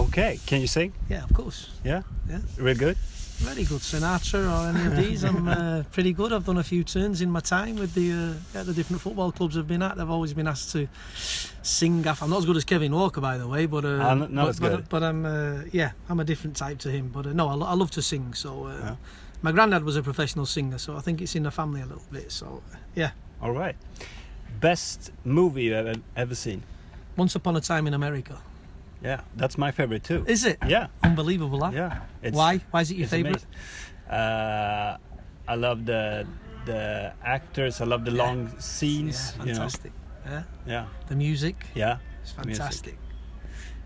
S5: Okay, can you sing?
S6: Yeah, of course.
S5: Yeah,
S6: Yeah,
S5: real good.
S6: very good. Sinatra or any of these, I'm uh, pretty good. I've done a few turns in my time with the uh, yeah, the different football clubs I've been at. I've always been asked to sing. Off. I'm not as good as Kevin Walker, by the way, but uh,
S5: Ah, no- no,
S6: but,
S5: it's
S6: but,
S5: good.
S6: but I'm uh, yeah, I'm a different type to him. But uh, no, I, lo- I love to sing. So uh, my granddad was a professional singer, so I think it's in the family a little bit. So uh, yeah,
S5: All right. Best movie you ever ever seen?
S6: Once Upon a Time in America.
S5: Yeah, that's my favorite too.
S6: Is it?
S5: Yeah,
S6: Unbelievable. That.
S5: yeah. It's,
S6: Why? Why is it your
S5: it's
S6: favourite?
S5: amazing. Uh, I love the the actors. I love the long
S6: Yeah,
S5: scenes. you know.
S6: fantastic. Yeah.
S5: Yeah,
S6: The music.
S5: yeah,
S6: It's fantastic.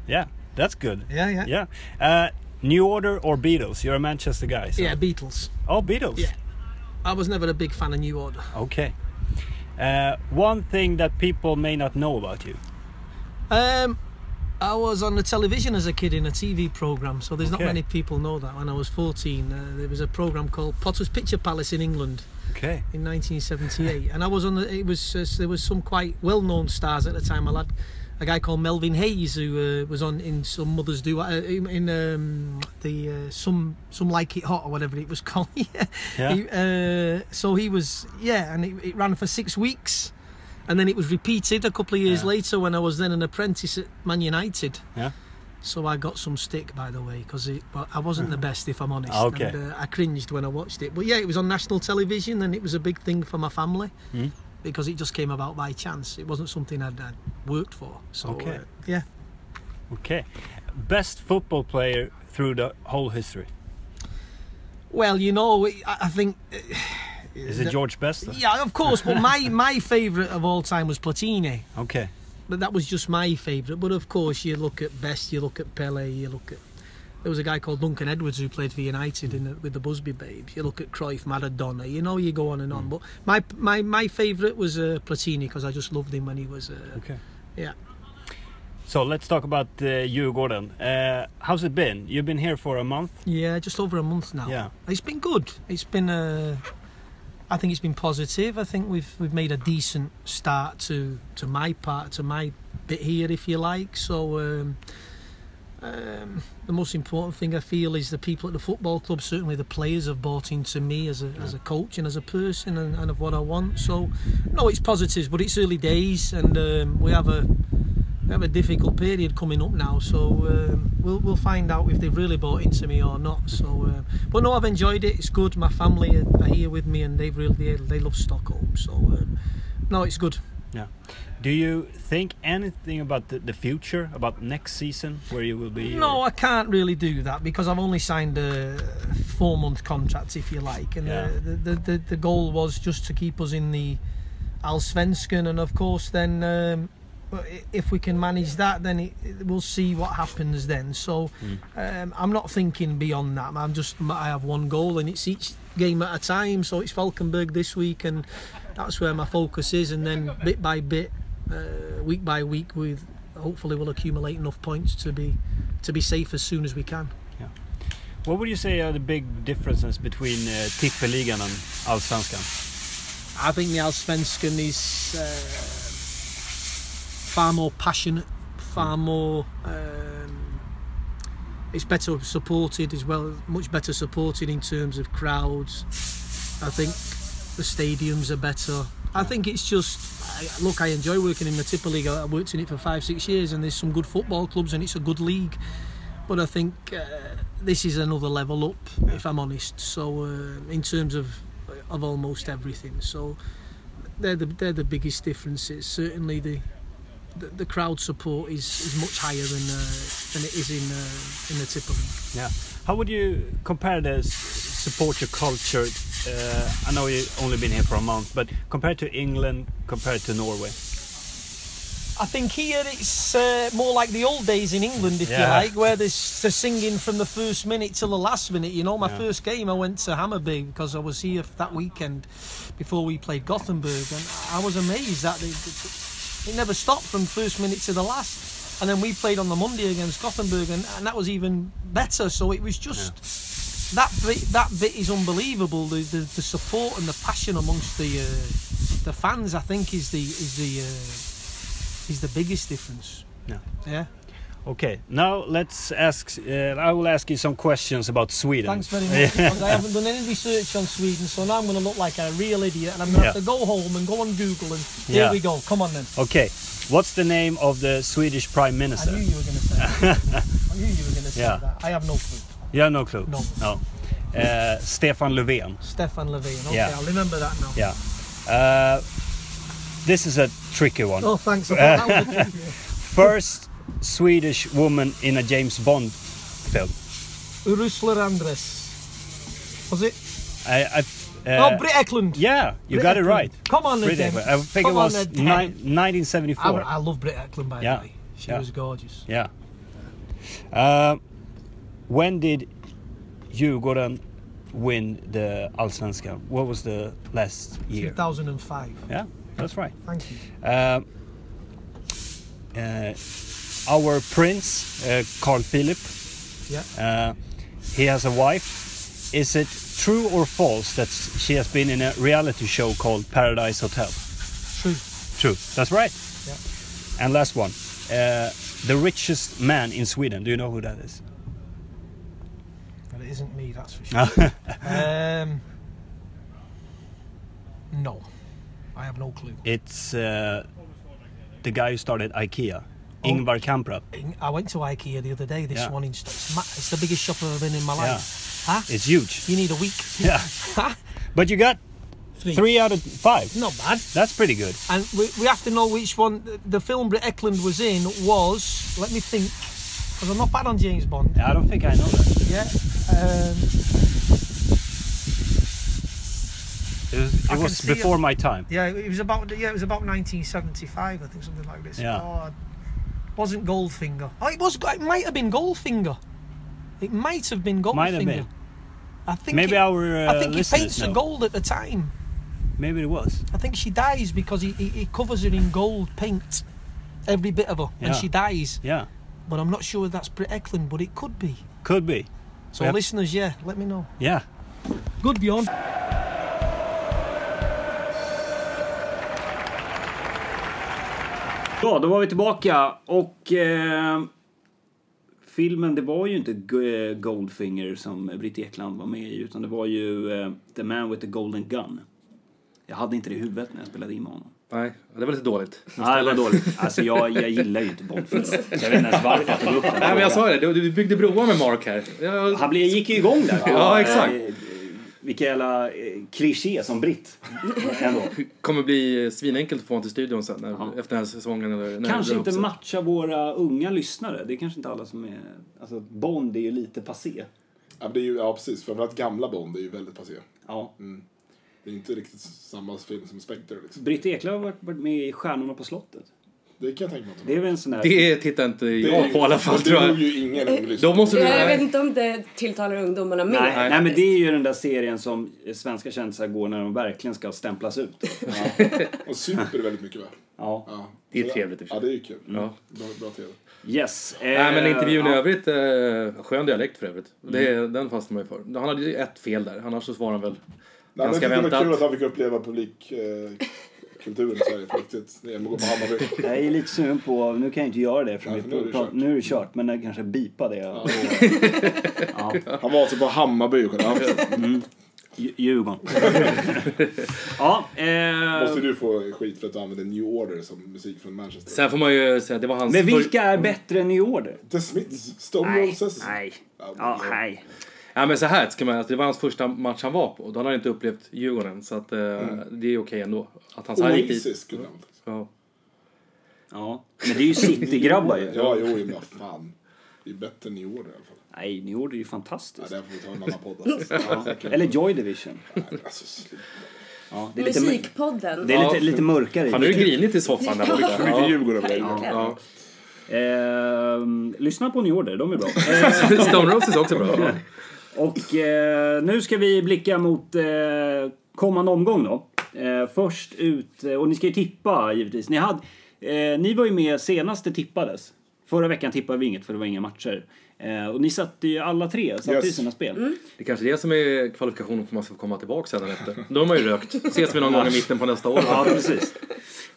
S5: yeah. That's good.
S6: Yeah, yeah.
S5: Yeah. Uh, New Order or Beatles? You're a Manchester guy. So.
S6: Yeah, Beatles.
S5: Oh, Beatles.
S6: Yeah. I was never a big fan of New Order.
S5: Okay. Uh, one thing that people may not know about you.
S6: Um, I was on the television as a kid in a TV program, so there's
S5: Okay.
S6: not many people know that. When I was 14, uh, there was a program called Potter's Picture Palace in England
S5: Okay.
S6: in 1978, and I was on. The, it was uh, there was some quite well-known stars at the time. I had a guy called Melvin Hayes who uh, was on in some mothers do uh, in, in um, the uh, some some like it hot or whatever it was called. yeah.
S5: Yeah.
S6: He, uh, so he was yeah, and it, it ran for six weeks. And then it was repeated a couple of years
S5: Yeah.
S6: later when I was then an apprentice at Man United.
S5: Yeah.
S6: So I got some stick, by the way, because well, I wasn't the best, if I'm honest.
S5: Okay.
S6: And, uh, I cringed when I watched it. But yeah, it was on national television and it was a big thing for my family
S5: Mm.
S6: because it just came about by chance. It wasn't something I'd, I'd worked for. So,
S5: Okay.
S6: uh, yeah.
S5: Okay. Best football player through the whole history.
S6: Well, you know, I, I think.
S5: Is it George Best? then?
S6: Yeah, of course. But my, my favourite of all time was Platini.
S5: Okay.
S6: but that was just my favourite. But of course, you look at Best, you look at Pele, you look at. There was a guy called Duncan Edwards who played for United in the, with the Busby Babes. You look at Cruyff, Maradona. You know, you go on and on. But my my my favourite was uh, Platini because I just loved him when he was. Uh,
S5: Okay.
S6: Yeah.
S5: So let's talk about uh, you, Gordon. Uh, how's it been? You've been here for a month.
S6: Yeah, just over a month now.
S5: Yeah.
S6: It's been good. It's been uh, I think it's been positive. I think we've we've made a decent start to to my part to my bit here, if you like. So um, um, the most important thing I feel is the people at the football club, certainly the players, have bought into me as a as a coach and as a person and, and of what I want. So no, it's positives, but it's early days, and um, we have a we have a difficult period coming up now, so um, we'll we'll find out if they've really bought into me or not. So, um, but no, I've enjoyed it. It's good. My family are, are here with me, and they've really they, they love Stockholm. So, um, no, it's good.
S5: Yeah. Do you think anything about the, the future, about next season, where you will be?
S6: No,
S5: or-
S6: I can't really do that because I've only signed a four month contract, if you like, and
S5: Yeah.
S6: the, the, the the goal was just to keep us in the Allsvenskan, and of course, then um, i- if we can manage that, then it, it- we'll see what happens then. So um, I'm not thinking beyond that. I'm just I have one goal, and it's each game at a time. So it's Falkenberg this week, and that's where my focus is, and then bit by bit, uh, week by week, with hopefully we'll accumulate enough points to be to be safe as soon as we can.
S5: What would you say are the big differences between uh, Tippeligan and Allsvenskan?
S6: I think the Allsvenskan is uh, far more passionate, far more. Um, it's better supported as well, much better supported in terms of crowds. I think the stadiums are better. I think it's just I, look. I enjoy working in the Tipper League. I I worked in it for five, six years, and there's some good football clubs, and it's a good league. But I think uh, this is another level up, if I'm honest. So uh, in terms of of almost everything, so they're the they're the biggest differences. Certainly the the, the crowd support is, is much higher than uh, than it is in uh, in the Tipper League.
S5: Yeah. How would you compare the s- supporter culture? Uh, I know you've only been here for a month, but compared to England, compared to Norway?
S6: I think here it's uh, more like the old days in England, if
S5: Yeah.
S6: you like, where there's the singing from the first minute till the last minute. You know, my
S5: Yeah.
S6: first game I went to Hammerby because I was here for that weekend before we played Gothenburg, and I was amazed that they, they- it never stopped from first minute to the last. And then we played on the Monday against Gothenburg, and, and that was even better. So it was just that bit, that bit is unbelievable. The, the the support and the passion amongst the uh, the fans, I think, is the is the uh, is the biggest difference.
S5: Yeah.
S6: Yeah.
S5: Okay, now let's ask. Uh, I will ask you some questions about Sweden.
S6: Thanks very much. Because I haven't done any research on Sweden, so now I'm going to look like a real idiot, and I'm going to
S5: Yeah.
S6: have to go home and go on Google. And here
S5: Yeah.
S6: we go. Come on then.
S5: Okay, what's the name of the Swedish Prime
S6: I knew
S5: Minister?
S6: you were going to say. That. I knew you were going to say
S5: Yeah.
S6: that. I have no clue.
S5: Yeah, no clue.
S6: No.
S5: Uh, Stefan Löfven.
S6: Stefan Levine. Okay,
S5: Yeah.
S6: I'll remember that now.
S5: Yeah. Uh, this is a tricky one.
S6: Oh, thanks. I thought that was a tricky one.
S5: First Swedish woman in a James Bond film.
S6: Ursula Andress. Was it?
S5: I, I, uh,
S6: oh, Britt Eklund.
S5: yeah, you
S6: Britt
S5: got it
S6: Eklund.
S5: right.
S6: Come on,
S5: Britt
S6: Britt
S5: Eklund. I think
S6: Come
S5: it
S6: on,
S5: was
S6: then.
S5: ni- 1974.
S6: I, I love Britt Eklund, by
S5: Yeah.
S6: the way. She
S5: Yeah.
S6: was gorgeous.
S5: Yeah. Uh, when did Djurgården win the Allsvenskan? What was the last year?
S6: 2005.
S5: Yeah, that's right.
S6: Thank you.
S5: Uh, uh, our prince, uh, Carl Philip,
S6: Yeah.
S5: uh, he has a wife. Is it true or false that she has been in a reality show called Paradise Hotel?
S6: True.
S5: True. That's right.
S6: Yeah.
S5: And last one. Uh, the richest man in Sweden. Do you know who that is?
S6: But it isn't me, that's for sure. um, no. I have no clue.
S5: It's uh, the guy who started IKEA,
S6: Oh.
S5: Ingvar Kamprad.
S6: In- I went to IKEA the other day. This
S5: Yeah.
S6: one in Sto- it's, ma- it's the biggest shop I've been in my
S5: Yeah.
S6: life. Huh?
S5: It's huge.
S6: you need a week.
S5: Yeah. But you got
S6: Three.
S5: three out of five.
S6: Not bad.
S5: That's pretty good.
S6: And we, we have to know which one the- the film that Eklund was in was. Let me think, because I'm not bad on James Bond.
S5: I don't think I know that.
S6: Yeah. Um,
S5: It was,
S6: I
S5: it
S6: can
S5: was
S6: see it.
S5: before my time.
S6: yeah. It was about. Yeah. It was about 1975, I think, something like this.
S5: Yeah.
S6: Oh, it wasn't Goldfinger. Oh, it was. It might have been Goldfinger. It might have been Goldfinger.
S5: Might have been.
S6: I think.
S5: Maybe
S6: it,
S5: our uh,
S6: I think he
S5: listeners
S6: paints
S5: know.
S6: her gold at the time.
S5: Maybe it was.
S6: I think she dies because he, he, he covers her in gold paint, every bit of her,
S5: Yeah.
S6: and she dies.
S5: Yeah,
S6: But I'm not sure that's Britt Eklund, but it could be.
S5: could be.
S6: So
S5: Yep.
S6: listeners, yeah, let me know.
S5: Yeah.
S6: Good Bjorn.
S1: Ja, då var vi tillbaka och... Eh, filmen, det var ju inte G- eh, Goldfinger som Britt Ekland var med i utan det var ju eh, The Man with the Golden Gun. Jag hade inte det i huvudet när jag spelade in med honom.
S3: Nej, det var lite dåligt.
S1: Nej, det var dåligt. Alltså jag, jag gillar ju inte Bondfilmer. Jag vet inte ens varför jag tog upp den
S3: Nej, men
S1: frågan.
S3: jag sa det. Du, du byggde broar med Mark här. Jag,
S1: Han blev, gick ju igång där.
S3: Ja, exakt.
S1: Eh, eh, Vilken jävla eh, kliché som britt. Ändå.
S3: kommer bli svinenkelt att få honom till studion sen när, efter den här säsongen. Eller, när
S1: Kanske
S3: det
S1: inte
S3: drar ihop sig.
S1: matcha våra unga lyssnare. Det är kanske inte alla som är... Alltså, Bond är ju lite passé.
S2: Ja, men det är ju, ja precis. Framförallt gamla Bond är ju väldigt passé.
S1: Ja.
S2: Det är inte riktigt samma film som Spectre liksom.
S1: Britt Eklöf har varit- varit med i Stjärnorna på slottet.
S2: Det kan jag tänka mig att
S1: Det är väl en sån där...
S3: Det tittar inte jag på i alla fall
S2: det
S3: tror
S2: drog
S3: jag.
S2: ju ingen ung
S3: Då
S2: lyssnare.
S3: måste du...
S4: Jag vet inte om det tilltalar ungdomarna mer.
S1: Nej, nej, men det är ju den där serien som svenska kändisar går när de verkligen ska stämplas ut.
S2: Och super väldigt mycket va?
S1: Ja.
S2: Ja.
S3: Det är trevligt i och för
S2: Ja,
S3: sig. Mm.
S2: det är ju kul.
S3: Ja.
S2: Bra, bra tv.
S1: Yes.
S3: Nej, men intervjun i
S1: ja.
S3: övrigt, eh, skön dialekt för övrigt. Det, den fastnar man ju för. Han hade ju ett fel där, annars så svarar han väl
S2: Nej, men
S3: ganska
S2: det var kul att
S3: väntat.
S2: han fick uppleva publikkulturen i Sverige på riktigt. Det är att gå på Hammarby.
S1: Jag är lite sugen på, nu kan jag inte göra det för, vi
S2: Nej, för nu är det
S1: pratar-
S2: kört.
S1: nu är det kört, men jag kanske bipar det. Ja.
S2: Han var alltså på Hammarby och kollade. Ja,
S1: Dj- Djurgården. ja,
S2: Måste
S1: eh,
S2: du få skit för att du använde New Order som musik från Manchester?
S3: Sen får man ju säga, det var hans...
S1: men
S3: för-
S1: vilka är bättre än New Order?
S2: The Smiths, Stone
S1: Nej,
S2: Roses.
S1: nej.
S2: Ja, men-
S1: Ja, nej.
S3: Ja, men så här ska man, alltså, det var hans första match han var på. Då hade han inte upplevt Djurgården, så att, eh, det är okej ändå. Att han så här gick dit.
S2: Oasis kunde han väl?
S3: Ja.
S1: Ja. Men det är ju City-grabbar ju.
S2: Ja, jo, men vad fan. Det är bättre än New Order i alla fall.
S1: Nej, New Order är ju
S2: Ja,
S1: fantastiskt.
S2: det här får vi ta i en annan podd. Alltså.
S1: Eller Joy Division.
S2: Nej, alltså, sluta.
S1: Ja, det är lite, mör-
S4: Musikpodden.
S1: det är lite,
S3: Ja,
S1: lite mörkare. i
S3: Fan, nu är det
S1: det.
S3: grinigt i soffan där borta.
S2: Mycket
S3: Ja.
S2: Djurgården blev det.
S3: Ja.
S1: Ehm, lyssna på New Order, de är bra. Eh,
S3: Stone Roses är också bra.
S1: Och eh, nu ska vi blicka mot eh, kommande omgång då. Eh, först ut, eh, och ni ska ju tippa givetvis. Ni, hade, eh, ni var ju med senast det tippades. Förra veckan tippade vi inget för det var inga matcher. Eh, och ni satte ju alla tre, satte ju
S2: Yes.
S1: sina spel.
S3: Det är kanske är det som är kvalifikationen för att man ska få komma tillbaka sen efter. Då har man ju rökt. Ses vi någon gång i mitten på nästa år.
S1: Ja, precis.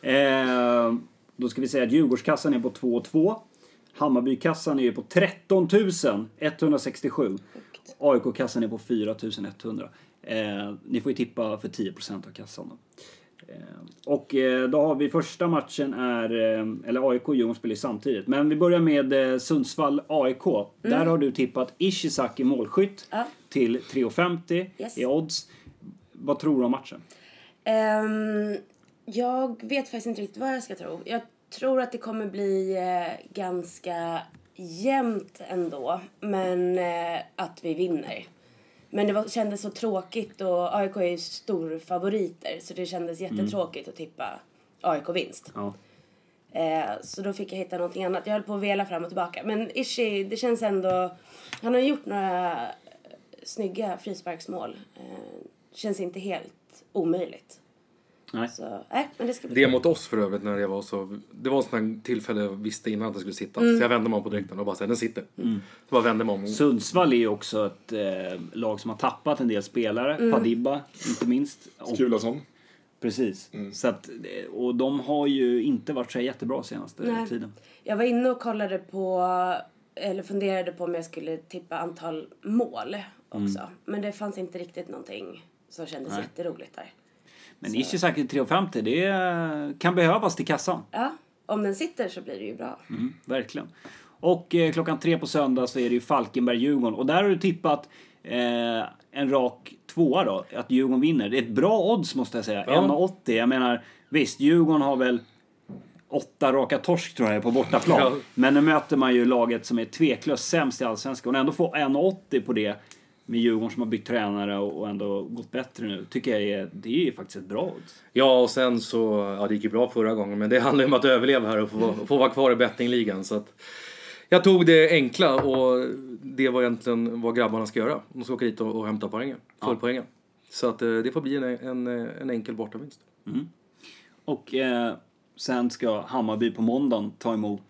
S1: Eh, då ska vi säga att Djurgårdskassan är på 2-2. Hammarbykassan är ju på 13 167. AIK-kassan är på 4 100. Eh, ni får ju tippa för 10 av kassan. Då. Eh, och eh, då har vi första matchen är, eh, eller AIK och Djurgården spelar ju samtidigt. Men vi börjar med eh, Sundsvall-AIK. Där har du tippat Ishizaki målskytt
S4: Mm. Ja.
S1: till 3,50
S4: Yes.
S1: i odds. Vad tror du om matchen?
S4: Ehm, jag vet faktiskt inte riktigt vad jag ska tro. Jag tror att det kommer bli eh, ganska jämnt ändå, men eh, att vi vinner. Men det var, kändes så tråkigt och AIK är ju
S1: Mm.
S4: storfavoriter så det kändes jättetråkigt att tippa AIK-vinst.
S1: Ja.
S4: Eh, så då fick jag hitta någonting annat. Jag höll på att vela fram och tillbaka. Men Ishi, det känns ändå... Han har gjort några eh, snygga frisparksmål. Eh, känns inte helt omöjligt.
S1: Nej.
S4: Så, nej, men det ska bli
S3: Det mot oss för övrigt när jag var så... Det var en sån här tillfälle jag visste innan att det skulle sitta. Så jag vände mig om på dräkten och bara såhär, den sitter. Så bara vände mig om.
S1: Sundsvall är ju också ett eh, lag som har tappat en del spelare. Padibba, inte minst. Och,
S2: Skulason.
S1: precis. Så att, eh, och de har ju inte varit så här jättebra senaste
S4: Nej.
S1: tiden.
S4: Jag var inne och kollade på, eller funderade på om jag skulle tippa antal mål också.
S1: Mm.
S4: Men det fanns inte riktigt någonting som kändes jätteroligt där.
S1: Men Ishizaki 3,50 det eh, kan behövas till kassan.
S4: Ja, om den sitter så blir det ju bra.
S1: Mm, verkligen. Och eh, klockan tre på söndag så är det ju Falkenberg-Djurgården. Och där har du tippat eh, en rak tvåa då, att Djurgården vinner. Det är ett bra odds måste jag säga.
S3: Ja.
S1: 1,80. Jag menar, visst, Djurgården har väl åtta raka torsk tror jag på bortaplan.
S3: Ja.
S1: Men nu möter man ju laget som är tveklöst sämst i Allsvenskan. Och ändå få 1,80 på det med Djurgården som har bytt tränare och och ändå gått bättre nu. Tycker jag är, det är faktiskt ett bra odds.
S3: Ja, och sen så... Ja, det gick ju bra förra gången men det handlar ju om att överleva här och få, få vara kvar i bettingligan. Så att jag tog det enkla och det var egentligen vad grabbarna ska göra. De ska åka dit och, och hämta poängen. Fullpoängen. Så att eh, det får bli en, en, en enkel bortavinst.
S1: Och eh, sen ska Hammarby på måndagen ta emot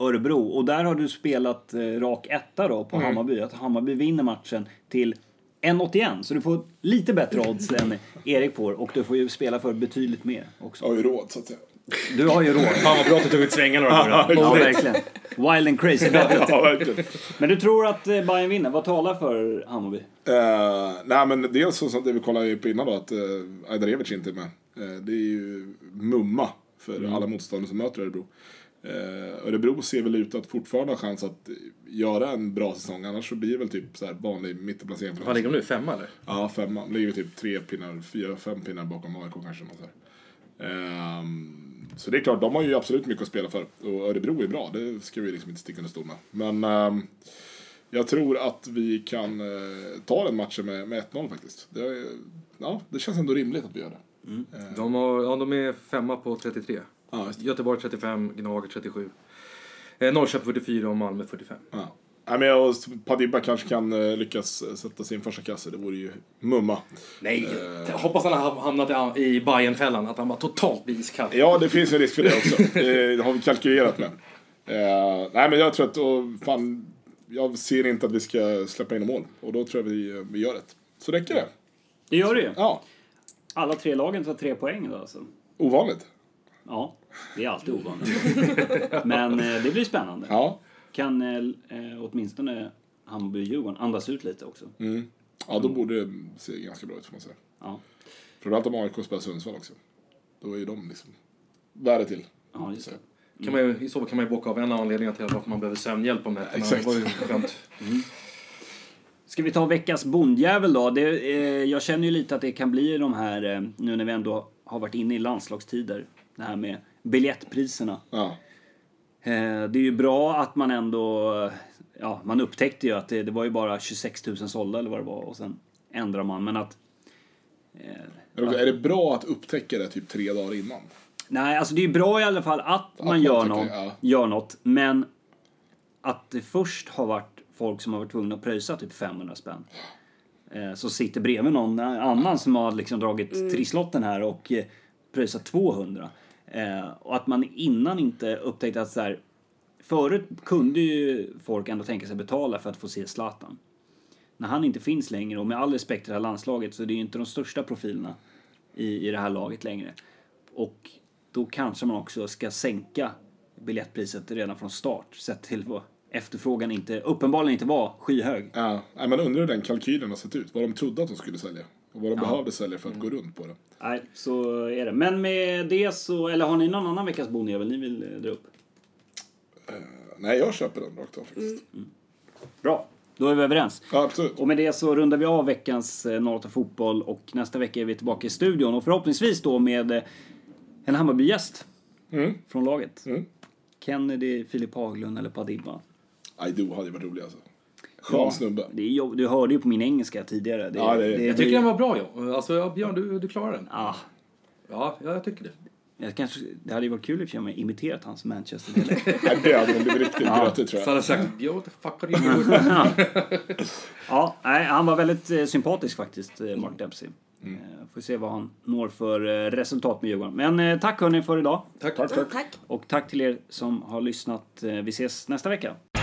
S1: Örebro. Och där har du spelat eh, rak etta då på Hammarby. Att Hammarby vinner matchen till 1,81. Så du får lite bättre odds än Erik får. Och du får ju spela för betydligt mer också.
S2: Jag har ju råd så att säga.
S1: Du har ju råd.
S3: Fan vad bra att du tog ut svängarna då.
S1: Ja, verkligen. Wild and crazy bettet.
S2: Ja, verkligen.
S1: Men du tror att eh, Bayern vinner. Vad talar för Hammarby?
S2: Eh, nej men dels så, så det vi kollade ju på innan då att uh, Ajdarevic inte är med. Eh, det är ju mumma för alla motståndare som möter Örebro. Uh, Örebro ser väl ut att fortfarande ha chans att göra en bra säsong annars så blir det väl typ så här vanlig mittenplacering. för
S3: Vad
S2: dem.
S3: ligger de nu? Femma eller?
S2: Ja, femman. Ligger typ tre pinnar, fyra, fem pinnar bakom AIK kanske. Något så, här. Ehm, så det är klart, de har ju absolut mycket att spela för. Och Örebro är bra, det ska vi liksom inte sticka under stol med. Men ehm, jag tror att vi kan eh, ta den matchen med, med 1-0 faktiskt. Det, är- ja, det känns ändå rimligt att vi gör det.
S3: De, har, ja, de är femma på 33.
S2: Ja, just det.
S3: Göteborg 35, Gnaget 37. Eh, Norrköpen 44 och Malmö 45.
S2: Ja. Nej, men jag, Padibba kanske kan eh, lyckas eh, sätta sin första kasse, det vore ju mumma.
S3: Nej,
S2: Eh.
S3: jag hoppas han har hamnat i, i Bayernfällan att han var totalt blir iskall.
S2: Ja, det finns en risk för det också. Det har vi kalkylerat med. Eh, nej, men jag tror att... Och fan, jag ser inte att vi ska släppa in mål. Och då tror jag vi, vi gör det. Så räcker det.
S1: Det gör det ju.
S2: Ja,
S1: Alla tre lagen tar tre poäng då alltså.
S2: ovanligt.
S1: Ja, det är alltid ovanligt. Men eh, det blir spännande.
S2: Ja,
S1: Kan eh, eh, åtminstone Hammarby och Djurgården andas ut lite också.
S2: ja då borde det se ganska bra ut, får man säga.
S1: Ja.
S2: Framförallt om AIK spelar Sundsvall också. Då är ju de liksom värre till.
S1: ja, just det.
S3: Kan man, ju- I så fall kan man ju bocka av en av anledningarna till varför man behöver sömnhjälp om det.
S2: Exakt.
S3: Det var ju skönt.
S1: Ska vi ta veckans bondjävel då? Det, eh, jag känner ju lite att det kan bli de här, eh, nu när vi ändå har varit inne i landslagstider, det här med biljettpriserna.
S2: Ja.
S1: Eh, det är ju bra att man ändå... eh, Ja, man upptäckte ju att det, det var ju bara 26 000 sålda eller vad det var och sen ändrar man. Men att...
S2: Är det- Är det bra att upptäcka det typ tre dagar innan?
S1: Nej, alltså det är ju bra i alla fall att man
S2: man
S1: gör,
S2: tycker,
S1: någon,
S2: ja.
S1: gör något. Men att det först har varit folk som har varit tvungna att pröjsa typ 500 spänn. Eh, Så sitter bredvid någon annan som har liksom dragit trisslotten här och eh, pröjsat 200. Eh, Och att man innan inte upptäckte att så här, Förut kunde ju folk ändå tänka sig betala för att få se Zlatan. När han inte finns längre, och med all respekt till det här landslaget, så det är ju inte de största profilerna i, i det här laget längre. Och då kanske man också ska sänka biljettpriset redan från start, sett till vad efterfrågan inte, uppenbarligen inte var skyhög.
S2: Ja. Nej, men undrar hur den kalkylen har sett ut. Vad de trodde att de skulle sälja. Och vad de behövde sälja för att gå runt på det.
S1: Nej, så är det. Men med det så, eller har ni någon annan veckas bonjävel ni vill eh, dra upp?
S2: Nej, jag köper den rakt av faktiskt.
S1: Bra, då är vi överens.
S2: Ja, absolut.
S1: Och med det så rundar vi av veckans eh, 08 Fotboll och nästa vecka är vi tillbaka i studion och förhoppningsvis då med eh, en Hammarby-gäst
S2: Mm.
S1: från laget.
S2: Mm.
S1: Kennedy, Filip Haglund eller Padibba.
S2: Aido hade ju varit rolig alltså. Skön snubbe.
S1: Det är jobb... Du hörde ju på min engelska tidigare. Det,
S2: Ja, det-
S3: Jag tycker den var bra, ja. Alltså, ja, Björn, du, du klarar den.
S1: Ah,
S3: Ja, ja, jag tycker det.
S1: Jag kanske, det hade ju varit kul i och för sig om jag imiterat hans Manchester-dialekt.
S2: Nej, döden blev riktigt grötig tror
S3: Så hade
S2: jag.
S3: jag sagt, yo, what the fuck are you doing?
S1: ja, nej, han var väldigt eh, sympatisk faktiskt, eh,
S2: Mm.
S1: Mark Dempsey. Eh, får se vad han når för eh, resultat med Djurgården. Men eh, tack hörni för idag.
S3: Tack.
S4: Tack.
S1: Och tack till er som har lyssnat. Eh, vi ses nästa vecka.